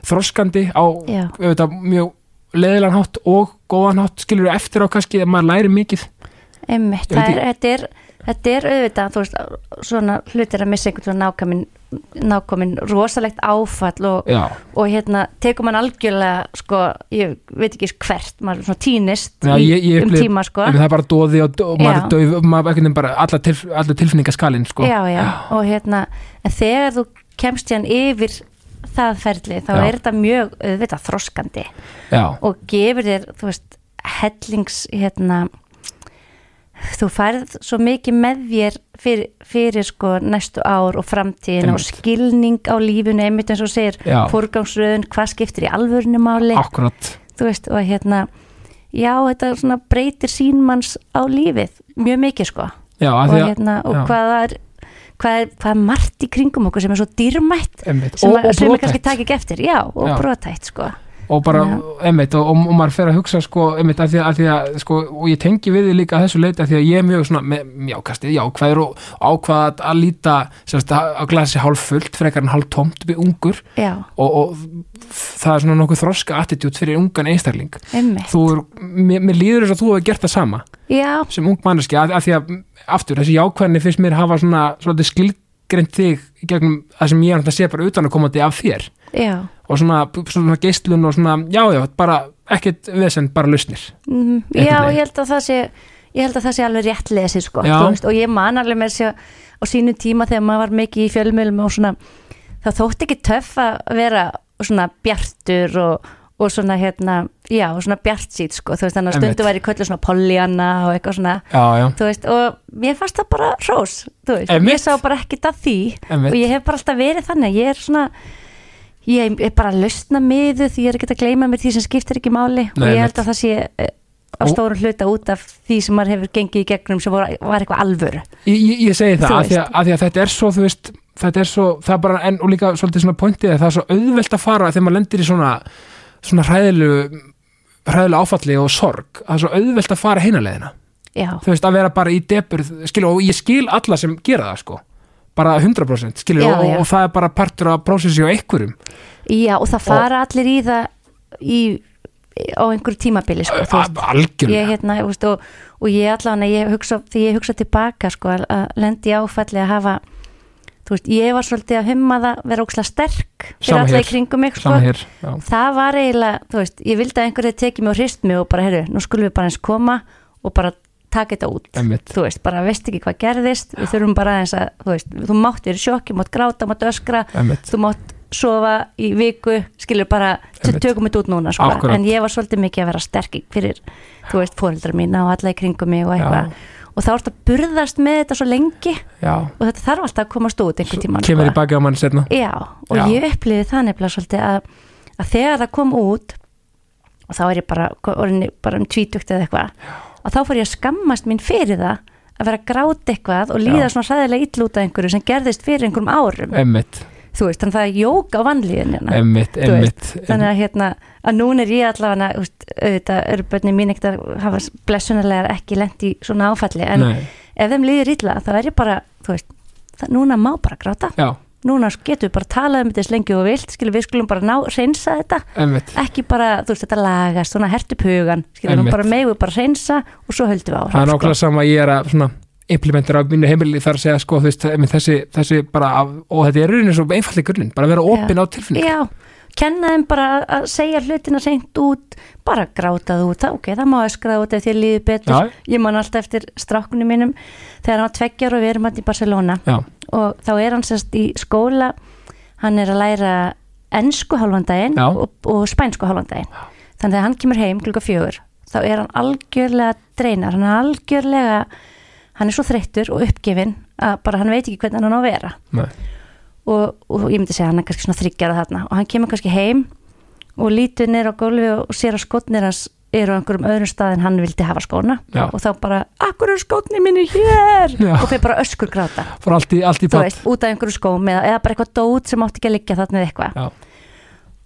A: þroskandi á
B: já,
A: auðvitað, mjög leðilegan hátt og góðan hátt skilur eftir á kannski að maður læri mikið
B: einmitt
A: Ég veit
B: Það er, þetta er, þetta er auðvitað, þú veist, svona hlutir að missa einhvern svona nákomin, nákomin rosalegt áfall og,
A: já,
B: og hérna, tekur mann algjörlega, sko, ég veit ekki hvert, maður svona tínist
A: Já, ég- ég
B: um
A: upplifði-
B: tíma, sko
A: en það er bara dóði og, og maður
B: Já.
A: er döð, maður einhvern veginn bara alla, tilf, alla tilfinningaskalinn sko.
B: já, já, og hérna en þegar þú kemst hérna yfir það ferli, þá
A: Já.
B: er þetta mjög auðvitað þroskandi
A: já,
B: og gefur þér, þú veist, hellings hérna þú færð svo mikið með þér fyrir, fyrir sko næstu ár og framtíðin og
A: Einmitt.
B: skilning á lífinu einmitt eins og þú segir,
A: Já.
B: forgangsröðun hvað skiptir í alvörinu máli
A: akkurat
B: þú veist, og hérna já, þetta svona breytir sínmanns á lífið, mjög mikið sko
A: já, að
B: og,
A: því að
B: hérna,
A: já.
B: og hvað það er hvað er, hvað er margt í kringum okkur sem er svo dýrmætt
A: einmitt,
B: sem,
A: og,
B: að-
A: og
B: sem er kannski
A: brotætt
B: takk ekki eftir, já, og
A: Já.
B: brotætt sko,
A: og bara,
B: Já.
A: einmitt, og, og, og maður fer að hugsa sko, einmitt, að því að, að því að, sko, og ég tengi við því líka að þessu leita því að ég er mjög svona, með, já, kastið, já, hvað er og ákvað að- að líta, semst, að að glasi hálf fullt, frekar en hálf tómt við ungur
B: já,
A: og, og það er svona nokkuð þroska attitút fyrir ungan einstakling.
B: einmitt
A: Þú er, mér, mér líður þess að þú hefur gert það sama
B: já,
A: sem ung manneski, að, að því að, aftur, þessi jákvæðni finnst mér hafa svona, svona skilgreynd þig í gegnum það sem ég er að sé bara utan að komandi af þér
B: já
A: og svona, svona geislun og svona, já, já, bara ekkert vesen, bara lausnir.
B: Mm,
A: Einhvern
B: Já,
A: veginn.
B: ég held að það sé ég held að það sé alveg rétt lesið sko
A: Já.
B: þú veist, og ég man alveg með þessi á sínu tíma þegar maður var mikið í fjölmjölum og svona, það þótti ekki töff að vera svona bjartur og, og svona hérna já, og svona bjart sít sko, þú veist þannig að
A: Einmitt.
B: stundu væri köllu svona polljanna og eitthvað svona,
A: Já, já,
B: þú veist og mér fannst það bara hrós, þú veist
A: Einmitt.
B: ég sá bara ekkit að því og
A: emmitt,
B: ég hef bara alltaf verið þannig ég er svona ég er bara að lausna miðu því ég er ekki að gleyma mér því sem skiptir ekki máli og
A: Nei,
B: ég
A: einmitt.
B: held að það sé eh, á
A: Ó.
B: stórum hluta út af því sem maður hefur gengið í gegnum sem var, var eitthvað alvöru
A: ég, ég, ég segi það,
B: Þú
A: að því að, að því að þetta er svo, þú veist, þetta er svo, það er bara, en, og líka svolítið svona pointið, er, það er svo auðvelt að fara þegar maður lendir í svona, svona hræðilu, hræðilu áfalli og sorg, það er svo auðvelt að fara heinalegina,
B: já,
A: þú veist, að vera bara í deburð, skilu, og ég skil alla sem gera það, sko, bara 100%, skilu,
B: Já,
A: og,
B: já.
A: og það er bara partur af prósessi og einhverjum,
B: já og það fara allir í það í, á einhverju tímabili sko, þú veist.
A: Al- algjörlega,
B: ég, hérna, ég veist, og, og ég allan að ég hugsa því ég hugsa tilbaka sko, að- að lendi áfalli að hafa þú veist, ég var svolítið að humma það vera ókslega sterk fyrir
A: Sama
B: alla
A: hér.
B: í kringum mig sko.
A: sama hér, já,
B: það var eiginlega, þú veist, ég vildi að einhverju tekið mig og hrist mig og bara, herru, nú skulum við bara eins koma og bara taka þetta út
A: emmitt,
B: þú veist, bara veist ekki hvað gerðist við þurfum bara aðeins að, þú veist, þú mátt verið sjokki, mátt gráta, mátt öskra
A: emmitt.
B: þú mátt sofa í viku skilur bara, t-
A: Einmitt.
B: tökum þetta út núna sko.
A: Akkúrat.
B: en ég var svolítið mikið að vera sterk í- fyrir, þú veist, fóreldra mína og alla í kringum mig og eitthvað og þá ertu að burðast með þetta svo lengi
A: já,
B: og þetta þarf alltaf að komast út einhvern tímann sko.
A: kemur í baki á mann setna
B: Já, og
A: Já.
B: ég upplýði það nefnilega svolítið að, að þegar það kom út og þá er ég bara, orðinni, bara um tvítugt eða eitthvað og þá fór ég að skammast mín fyrir það að vera að gráta eitthvað og líða
A: Já.
B: svona sæðilega ill út af einhverju sem gerðist fyrir einhverjum árum
A: emmitt,
B: þú veist, þannig að það er jók á vannlíðinina
A: emmitt,
B: Þú veist,
A: emmitt
B: þannig að hérna, að núna er ég allavega úst, auðvitað eru börnin mín ekkert að hafa blessunarlega ekki lent í svona áfalli en
A: Nei,
B: ef þeim líður illa þá er ég bara, þú veist, það, núna má bara gráta
A: já,
B: núna getum við bara talað um þetta eins lengi og þú vilt, skilur við skulum bara ná, reynsa þetta,
A: emmitt
B: ekki bara, þú veist, þetta lagast, svona hertu pugan, skilur
A: Einmitt.
B: við bara megu bara reynsa og svo höldum við sko. á
A: það er nákvæmlega sama að ég er að svona implementera á mínu heimili þar að segja sko þú veist, einmitt, þessi, þessi bara af, og þetta er raunin svo einfaldi grunninn, bara vera opinn á tilfinning
B: Já, kenna þeim bara að- að segja hlutina seint út, bara gráta þú út, það- ok, það má öskraða út ef þér líður betur,
A: Já.
B: ég man alltaf eftir stráknum mínum þegar hann var tveggjar og við erum hann í Barcelona
A: já,
B: og þá er hann sérst í skóla hann er að læra ennsku hálfan daginn
A: Já.
B: og, og spænsku hálfan daginn þannig að hann kemur heim klukka fjögur þá er hann algjörlega dreinar hann er algjörlega hann er svo þreyttur og uppgefinn að bara hann veit ekki hvernig hann á að vera
A: nei,
B: og, og ég myndi segja hann er kannski svona þryggjara þarna og hann kemur kannski heim og lítur nýr á gólfi og, og sér að skotnir hans eru á einhverjum öðrum stað en hann vildi hafa skóna
A: Já.
B: og þá bara, akkur er skotnir minni hér
A: Já.
B: og fyrir bara öskur gráta
A: fór allt í, allt í
B: þú
A: pott
B: veist, út af einhverju skóm eða, eða bara eitthvað dót sem átti ekki að liggja þarna eða eitthvað
A: já,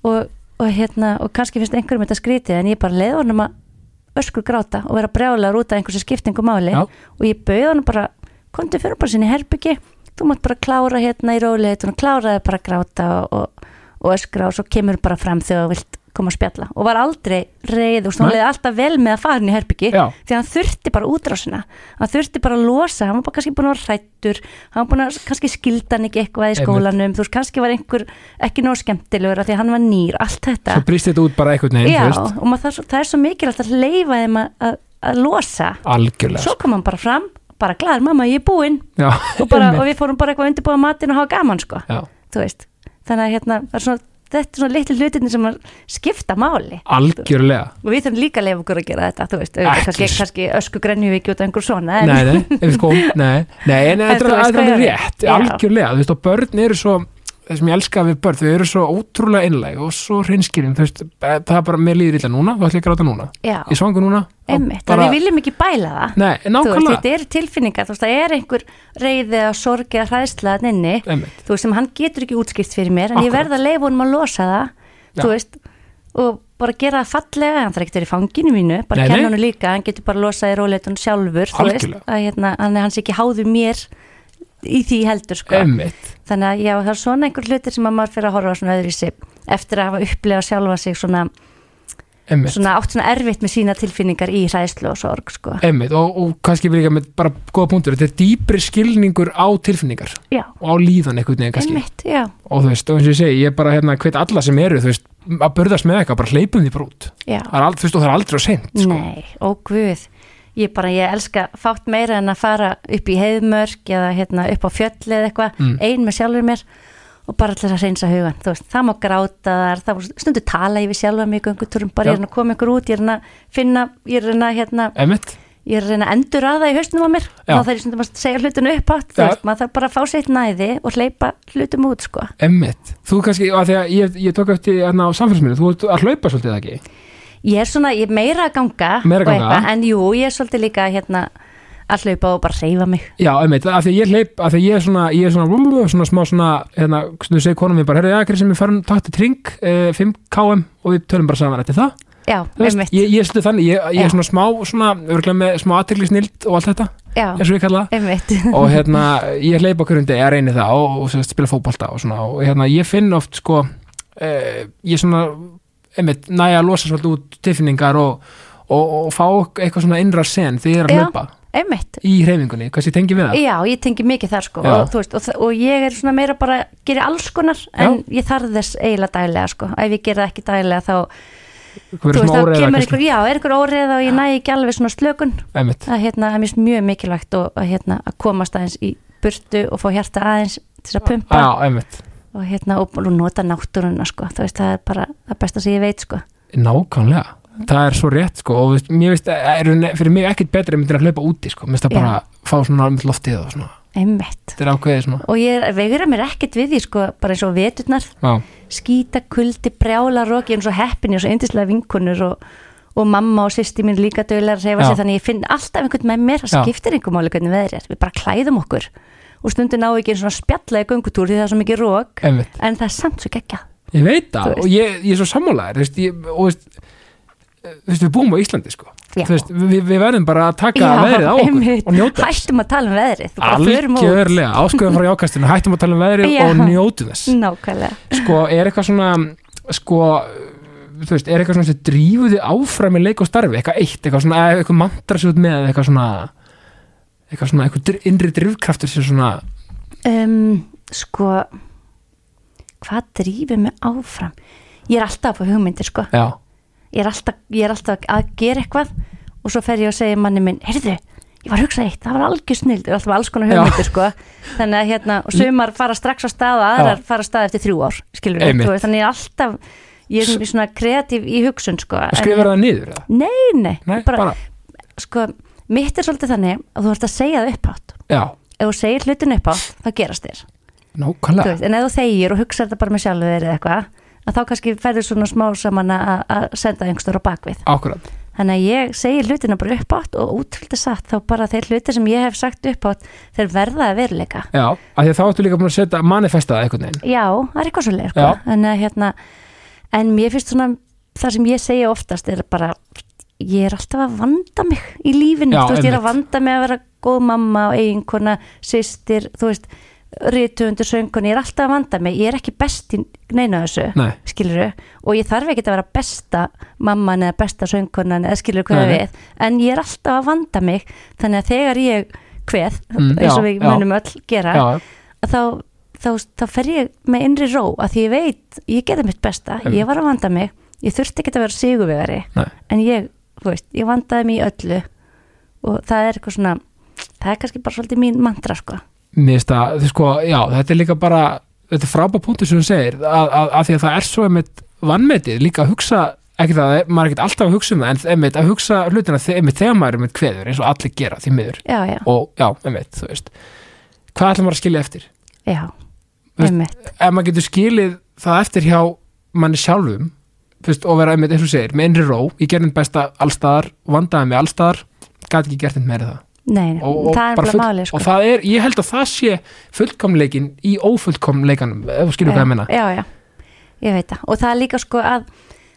B: og, og hérna, og kannski finnst einhverjum þetta skrítið en ég bara leiði honum að öskur gráta og vera brjálar út af einhversu skiptingu máli
A: Já.
B: og ég bauði honum bara komdu fyrir bara sinni herbyggi þú mátt bara klára hérna í róliðið og kláraði bara að gráta og, og, og öskra og svo kemur bara fram þegar þú vilt koma að spjalla og var aldrei reið og hún
A: Nei.
B: leiði alltaf vel með að fara hann í herbyggi
A: Já.
B: því hann þurfti bara útrásina hann þurfti bara að losa, hann var bara kannski búin að vera hrættur hann var búin að, kannski skildi hann ekki eitthvað í
A: Einmitt.
B: skólanum, þú veist, kannski var einhver ekki nóg skemmtilegur af því að hann var nýr, allt þetta
A: svo brýst þetta út bara einhvern veginn,
B: Já,
A: þú veist,
B: og maður, það, er svo- það er svo mikilvægt að leifa þeim að, að, að losa
A: algjörlega
B: svo kom hann bara fram, bara glaður mamma, ég er búinn
A: já,
B: og, bara, og
A: einmitt,
B: við fórum bara eitthvað að undirbúa matinn og hafa gaman, sko
A: já,
B: þú veist, þannig að hérna, það er svona, þetta er svona litlu hlutinni sem að skipta máli
A: algjörlega
B: og við þurfum líka að leifa okkur að gera þetta þú veist, auðvitað
A: Ekki
B: kannski,
A: s-
B: kannski ösku grenjuvík út af einhver svona en,
A: nei, nei, ef sko, nei, nei en
B: En
A: þetta
B: þú
A: er
B: veist
A: þetta er
B: hvað ég er að-
A: rétt,
B: Já.
A: algjörlega þú veist, og börn eru svo, það sem ég elska við börn, þau eru svo ótrúlega innlæg og svo hreinskilin, þú veist, eh, það er bara mér líður illa núna, þú ætlum ég að gráta núna
B: já,
A: ég svangu núna þá
B: einmitt,
A: bara,
B: þannig við viljum ekki bæla það
A: nei,
B: Þú veist,
A: nákvæmlega
B: þetta eru tilfinningar, þú veist, það er einhver reyði að sorgi að hræðsla þann inni
A: Einmitt.
B: þú veist, sem hann getur ekki útskipt fyrir mér en ég
A: Akkúrat.
B: verð að leifa honum að losa það
A: Já.
B: þú veist, og bara gera það fallega hann þarf ekki að vera í fanginu mínu, bara
A: Nei,
B: kenna
A: nei.
B: hann líka hann getur bara losað í róleitun sjálfur þú veist,
A: Algjörlega.
B: að hérna, hann er hans ekki háður mér í því heldur sko
A: Emmitt,
B: þannig að já, það er svona einhver hlutir sem að maður fyrir að horfa svona öðru í sig eftir að hafa upplegað sjálfa sig svona,
A: emmitt
B: svona átt svona erfitt með sína tilfinningar í hræðslu og sorg sko
A: Einmitt, og, og kannski líka með bara góða punktur þetta er dýpri skilningur á tilfinningar
B: já,
A: og á líðan einhvern veginn kannski
B: einmitt, já,
A: og þú veist, og eins og ég segi, ég er bara hérna hvet alla sem eru, þú veist, að burðast með eitthvað bara hleypum því bara út,
B: já
A: það er aldrei, þú veist, og það er aldrei að seint, sko,
B: Nei, ó guð Ég bara, ég elska fátt meira en að fara upp í heiðmörk eða hérna, upp á fjöll eða eitthvað,
A: Mm.
B: ein með sjálfur mér og bara allir að reynsa hugan, þú veist, það má gráta þar, það má stundu tala yfir sjálfa mig í göngutúrum, bara
A: Já.
B: ég er að koma ykkur út, ég er að finna, ég er að hérna,
A: emmitt
B: ég er að reyna að endur aða í hausnum á mér,
A: Já.
B: þá þarf ég stundum að segja hlutinu upp átt, þú
A: Já.
B: veist, maður þarf bara að fá sétt næði og hleypa hlutum út, sko.
A: emmitt, þú kannski, að því að ég, ég tók eftir hérna á samfélsminu, þú ert að hlaupa svolítið eða ekki,
B: Ég er svona, ég er meira að ganga,
A: Meira að
B: og
A: ganga.
B: eitthvað, en jú, ég er svolítið líka hérna að hlaupa og bara reyfa mig.
A: já, emmitt að því að ég hleyp, að því að ég er svona, ég er svona svona, svona smá svona, hérna, þú segir konum mér bara, herrðu, já, Kristi, mér farum takt til tring eh, 5 km og við tölum bara saman eftir það,
B: Já,
A: þú veist,
B: einmitt.
A: ég, ég er svolítið þannig, ég, ég
B: Já.
A: er svona smá, svona, örgulega með smá aðteglisnild og allt þetta,
B: Já,
A: eins og ég kalla það
B: einmitt
A: og hérna, ég hleypa okkur undir, ég reyni það og, og sem sagt, spila fótbolta og svona og hérna, ég finn oft sko eh, ég svona, einmitt, næja að losa svolítið út tilfinningar og, og, og fá eitthvað svona innra sen þegar ég er
B: Já.
A: að hlaupa
B: Einmitt,
A: í hreyfingunni, hvað sé tengi við það?
B: já, ég tengi mikið þar sko
A: Já.
B: og, þú veist, og, þa- og ég er svona meira bara gera alls konar en ég þarf þess eiginlega dælega sko ef ég gera það ekki dælega þá
A: Hvað
B: þú
A: verður
B: veist,
A: smá
B: þá
A: óreiða
B: kemur
A: kannski?
B: einhver, já, er einhver óreiða og ég næ ekki alveg svona slökun
A: Einmitt,
B: að hérna, það er mjög- mjög mikilvægt og að, hérna, að komast aðeins í burtu og fá hjarta aðeins til að pumpa
A: já, einmitt
B: og hérna, og, og nota náttúruna sko, þú veist, það er bara það besta sem ég veit sko
A: Nákvæmlega, það er svo rétt sko og veist, mér veist, er, fyrir mig ekkert betri myndin að hlaupa úti sko, mér finnst það
B: Já.
A: bara fá svona alveg loftið og svona,
B: Einmitt
A: þetta er ákveðið svona
B: og ég vegra mér ekkert við því sko bara eins og veturnar
A: Já,
B: skýta kuldi, brjála rók ég er eins og heppin, ég er svo eindislega vinkunur og, og mamma og sýsti mín líka dögulega að reyfa
A: Já.
B: sig, þannig ég finn alltaf einhvern með mér, það
A: Já.
B: skiptir einhver máli hvernig veður er, við bara klæðum okkur og stundum ná ekki einn svona spjalla í göngutúr því það er svo mikið rók,
A: einmitt
B: en það er samt svo geggjað
A: Ég veit
B: Þú
A: það
B: veist.
A: og ég, ég er svo sammálaður veist, ég, og veist, eh, veist, við búum á Íslandi sko.
B: Já.
A: Þú veist, við, við verðum bara að taka veðrið á okkur
B: einmitt.
A: og njóta þess.
B: hættum að tala um veðrið, þú bara förum út
A: algjörlega, ásköðum frá jákastinu hættum að tala um veðrið
B: Já. Mm.
A: og njótu þess
B: nákvæmlega,
A: sko, er eitthvað svona sko, þú veist, er eitthvað svona sem drífu þið áfram í leik og starfi eitthvað eitt, eitthvað svona, eða eitthvað mantra sér út með eða eitthvað svona eitthvað svona, eitthvað dr- innri drifkraftur sér svona
B: um, sko hvað drífum mig áfram ég er alltaf á hugmyndir sko
A: já,
B: ég er alltaf, ég er alltaf að gera eitthvað og svo fer ég og segja manni minn heyrðu, ég var að hugsa eitt, það var algjör snild og alltaf með alls konar
A: Já.
B: hugmyndir sko þannig að hérna, og sumar fara strax á stað og aðrar fara á stað eftir þrjú ár skilur við,
A: Einmitt.
B: þú veist, þannig ég er alltaf ég er svona kreatív í hugsun sko en-
A: skrifar það niður eða?
B: nei, nei,
A: Nei,
B: bara,
A: bara,
B: sko mitt er svolítið þannig að þú ert að segja það upphátt
A: já,
B: ef þú segir hlutin upphátt, þá gerast þér Þú
A: nákvæmlega
B: veist, en ef þú þegir og hugsar þetta bara með sjálfur þér eða eitthvað, að þá kannski ferður svona smá saman að að senda einhverstur á bakvið
A: Akkurat,
B: þannig að ég segi hlutina bara uppátt og útvöldi satt þá bara þeir hluti sem ég hef sagt uppátt þeir verða að veruleika
A: já, af því að þá ertu líka búin að setja manifesta það einhvern veginn
B: já, það er eitthvað svo leir sko.
A: Já.
B: en, hérna, en mér finnst svona það sem ég segi oftast er bara ég er alltaf að vanda mig í lífinu,
A: Já,
B: þú veist, ég er að
A: einmitt.
B: vanda mig að vera góð mamma og eiginkona, systir þú veist, rítuundur söngun ég er alltaf að vanda mig, ég er ekki best í neina af þessu
A: Nei,
B: skiluru, og ég þarf ekki að vera besta mamman eða besta söngunan eða skiluru hvað
A: Nei, nei.
B: við, en ég er alltaf að vanda mig, þannig að þegar ég hveð,
A: Mm,
B: eins og
A: já,
B: við
A: já.
B: munum öll gera,
A: já,
B: að þá, þá, þá fer ég með innri ró, að því ég veit ég gerði mitt besta,
A: Einmitt.
B: ég var að vanda mig ég þurfti ekki að vera sigurvegari
A: Nei.
B: en ég, þú veist, ég vandaði mig í öllu og það er eitthvað svona það er kannski bara svolítið mín mantra sko.
A: mér finnst það, þið sko, já, þetta er líka bara þetta er frábæð punktur sem þú segir að, að, að því að það er svo einmitt vannmetið líka að hugsa, ekki það, maður er ekkert alltaf að hugsa um það, en einmitt að hugsa hlutina þe- einmitt þegar maður er einmitt kveður, eins og allir gera því miður,
B: já, já,
A: og já, einmitt, þú veist hvað ætlum maður að skilja eftir?
B: já,
A: Þú veist,
B: einmitt
A: Ef maður getur skilið það eftir hjá manni sjálfum, þú veist, og vera einmitt eins og þú segir, með innri ró, ég gerði mitt besta allstaðar, vandaði mig allstaðar gat ekki gert neitt meira það
B: Nei,
A: og, og,
B: það er
A: bara
B: bara
A: full,
B: málið sko.
A: og það er, ég held að það sé fullkomleikin í ófullkomleikanum ef þú skilur hvað
B: já,
A: ég meina
B: já, já, ég veit það og það er líka sko að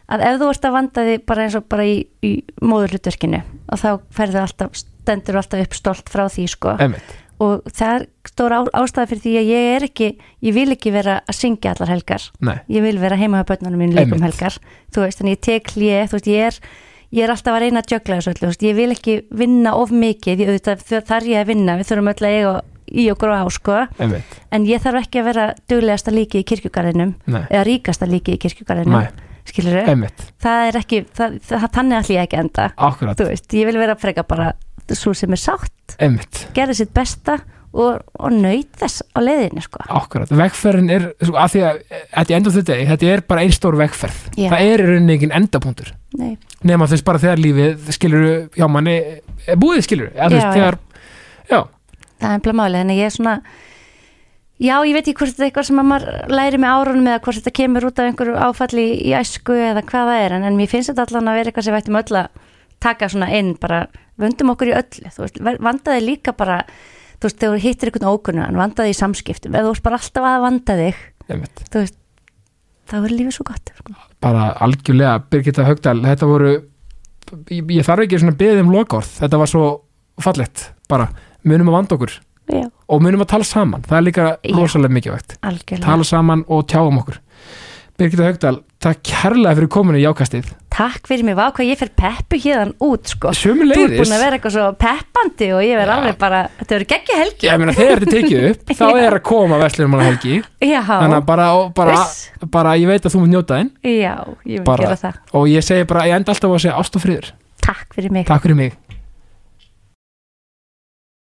B: að ef þú ert að vanda þig bara eins og bara í, í móðurlutverkinu og þá ferðu alltaf, stendur alltaf upp stolt frá því sko
A: Einmitt.
B: og það er stóra á- ástæða fyrir því að ég er ekki, ég vil ekki vera að syngja allar helgar
A: Nei,
B: ég vil vera heima á börnunum mínu líkum
A: Einmitt.
B: helgar þú veist, þannig ég tek hlje, þú veist, ég er ég er alltaf að reyna að jögla þessu öllu, þú veist, ég vil ekki vinna of mikið, ég auðvitað þar ég að vinna, við þurfum öll að eiga í og gróa á sko,
A: einmitt
B: en ég þarf ekki að vera duglegasta líkið í kirkjugarðinum
A: Nei,
B: eða ríkasta líkið í kirkjugarðinum
A: Nei.
B: skilur
A: einmitt,
B: það er ekki, það, það, þannig ætlum ég ekki að enda
A: akkurat,
B: þú veist, ég vil vera freka bara svo sem er sátt,
A: einmitt
B: gerði sitt besta og, og nöyt þess á leiðinni sko.
A: Akkurat, vegferðin er, sko, að því að þetta endur þetta, þetta er bara einn stór vegferð
B: Já.
A: það er í rauninni engin endapunktur
B: Nei,
A: nema þess bara þegar lífið skilur hjá manni, er búið skilur já,
B: Já,
A: þegar, já,
B: það er bara málið, en ég er svona já, ég veit ekki hvort þetta er eitthvað sem að maður læri með árunum eða hvort þetta kemur út af einhverju áfalli í æsku eða hvað það er, en, en mér finnst þetta allan að vera eitthvað sem við ættum öll að taka svona inn, bara vöndum okkur í öllu þú veist, ver- vandaði líka bara þú veist, þegar þú hittir einhvern ókunnan, vandaði í samskiptum eða þú veist bara alltaf að vanda þig
A: einmitt
B: þú veist, þá er lífið svo gott sko.
A: bara algjörlega Birgitta Högdal þetta voru, ég, ég þarf ekki svona beðið um lokaorð, þetta var svo fallett, bara, munum að vanda okkur
B: já,
A: og munum að tala saman, það er líka
B: Já.
A: rosalega mikilvægt,
B: algjörlega
A: tala saman og tjáum okkur Birgitta Högdal, takk kærlega fyrir kominu í jákastið,
B: takk fyrir mig, vá hvað ég fer peppu hérna út sko,
A: sömu
B: þú er búin
A: leiðis
B: að vera eitthvað svo peppandi og ég verð
A: Já.
B: alveg bara þetta verður geggja helgi,
A: ég meina þegar þetta er tekið upp þá er að koma verslunum hann helgi
B: já
A: þannig að bara, og bara,
B: Uss.
A: bara ég veit að þú mun njóta þinn
B: já, ég vil
A: Bara-
B: gera það
A: og ég segi bara, ég enda alltaf á að segja ást og friður
B: takk fyrir mig
A: takk fyrir mig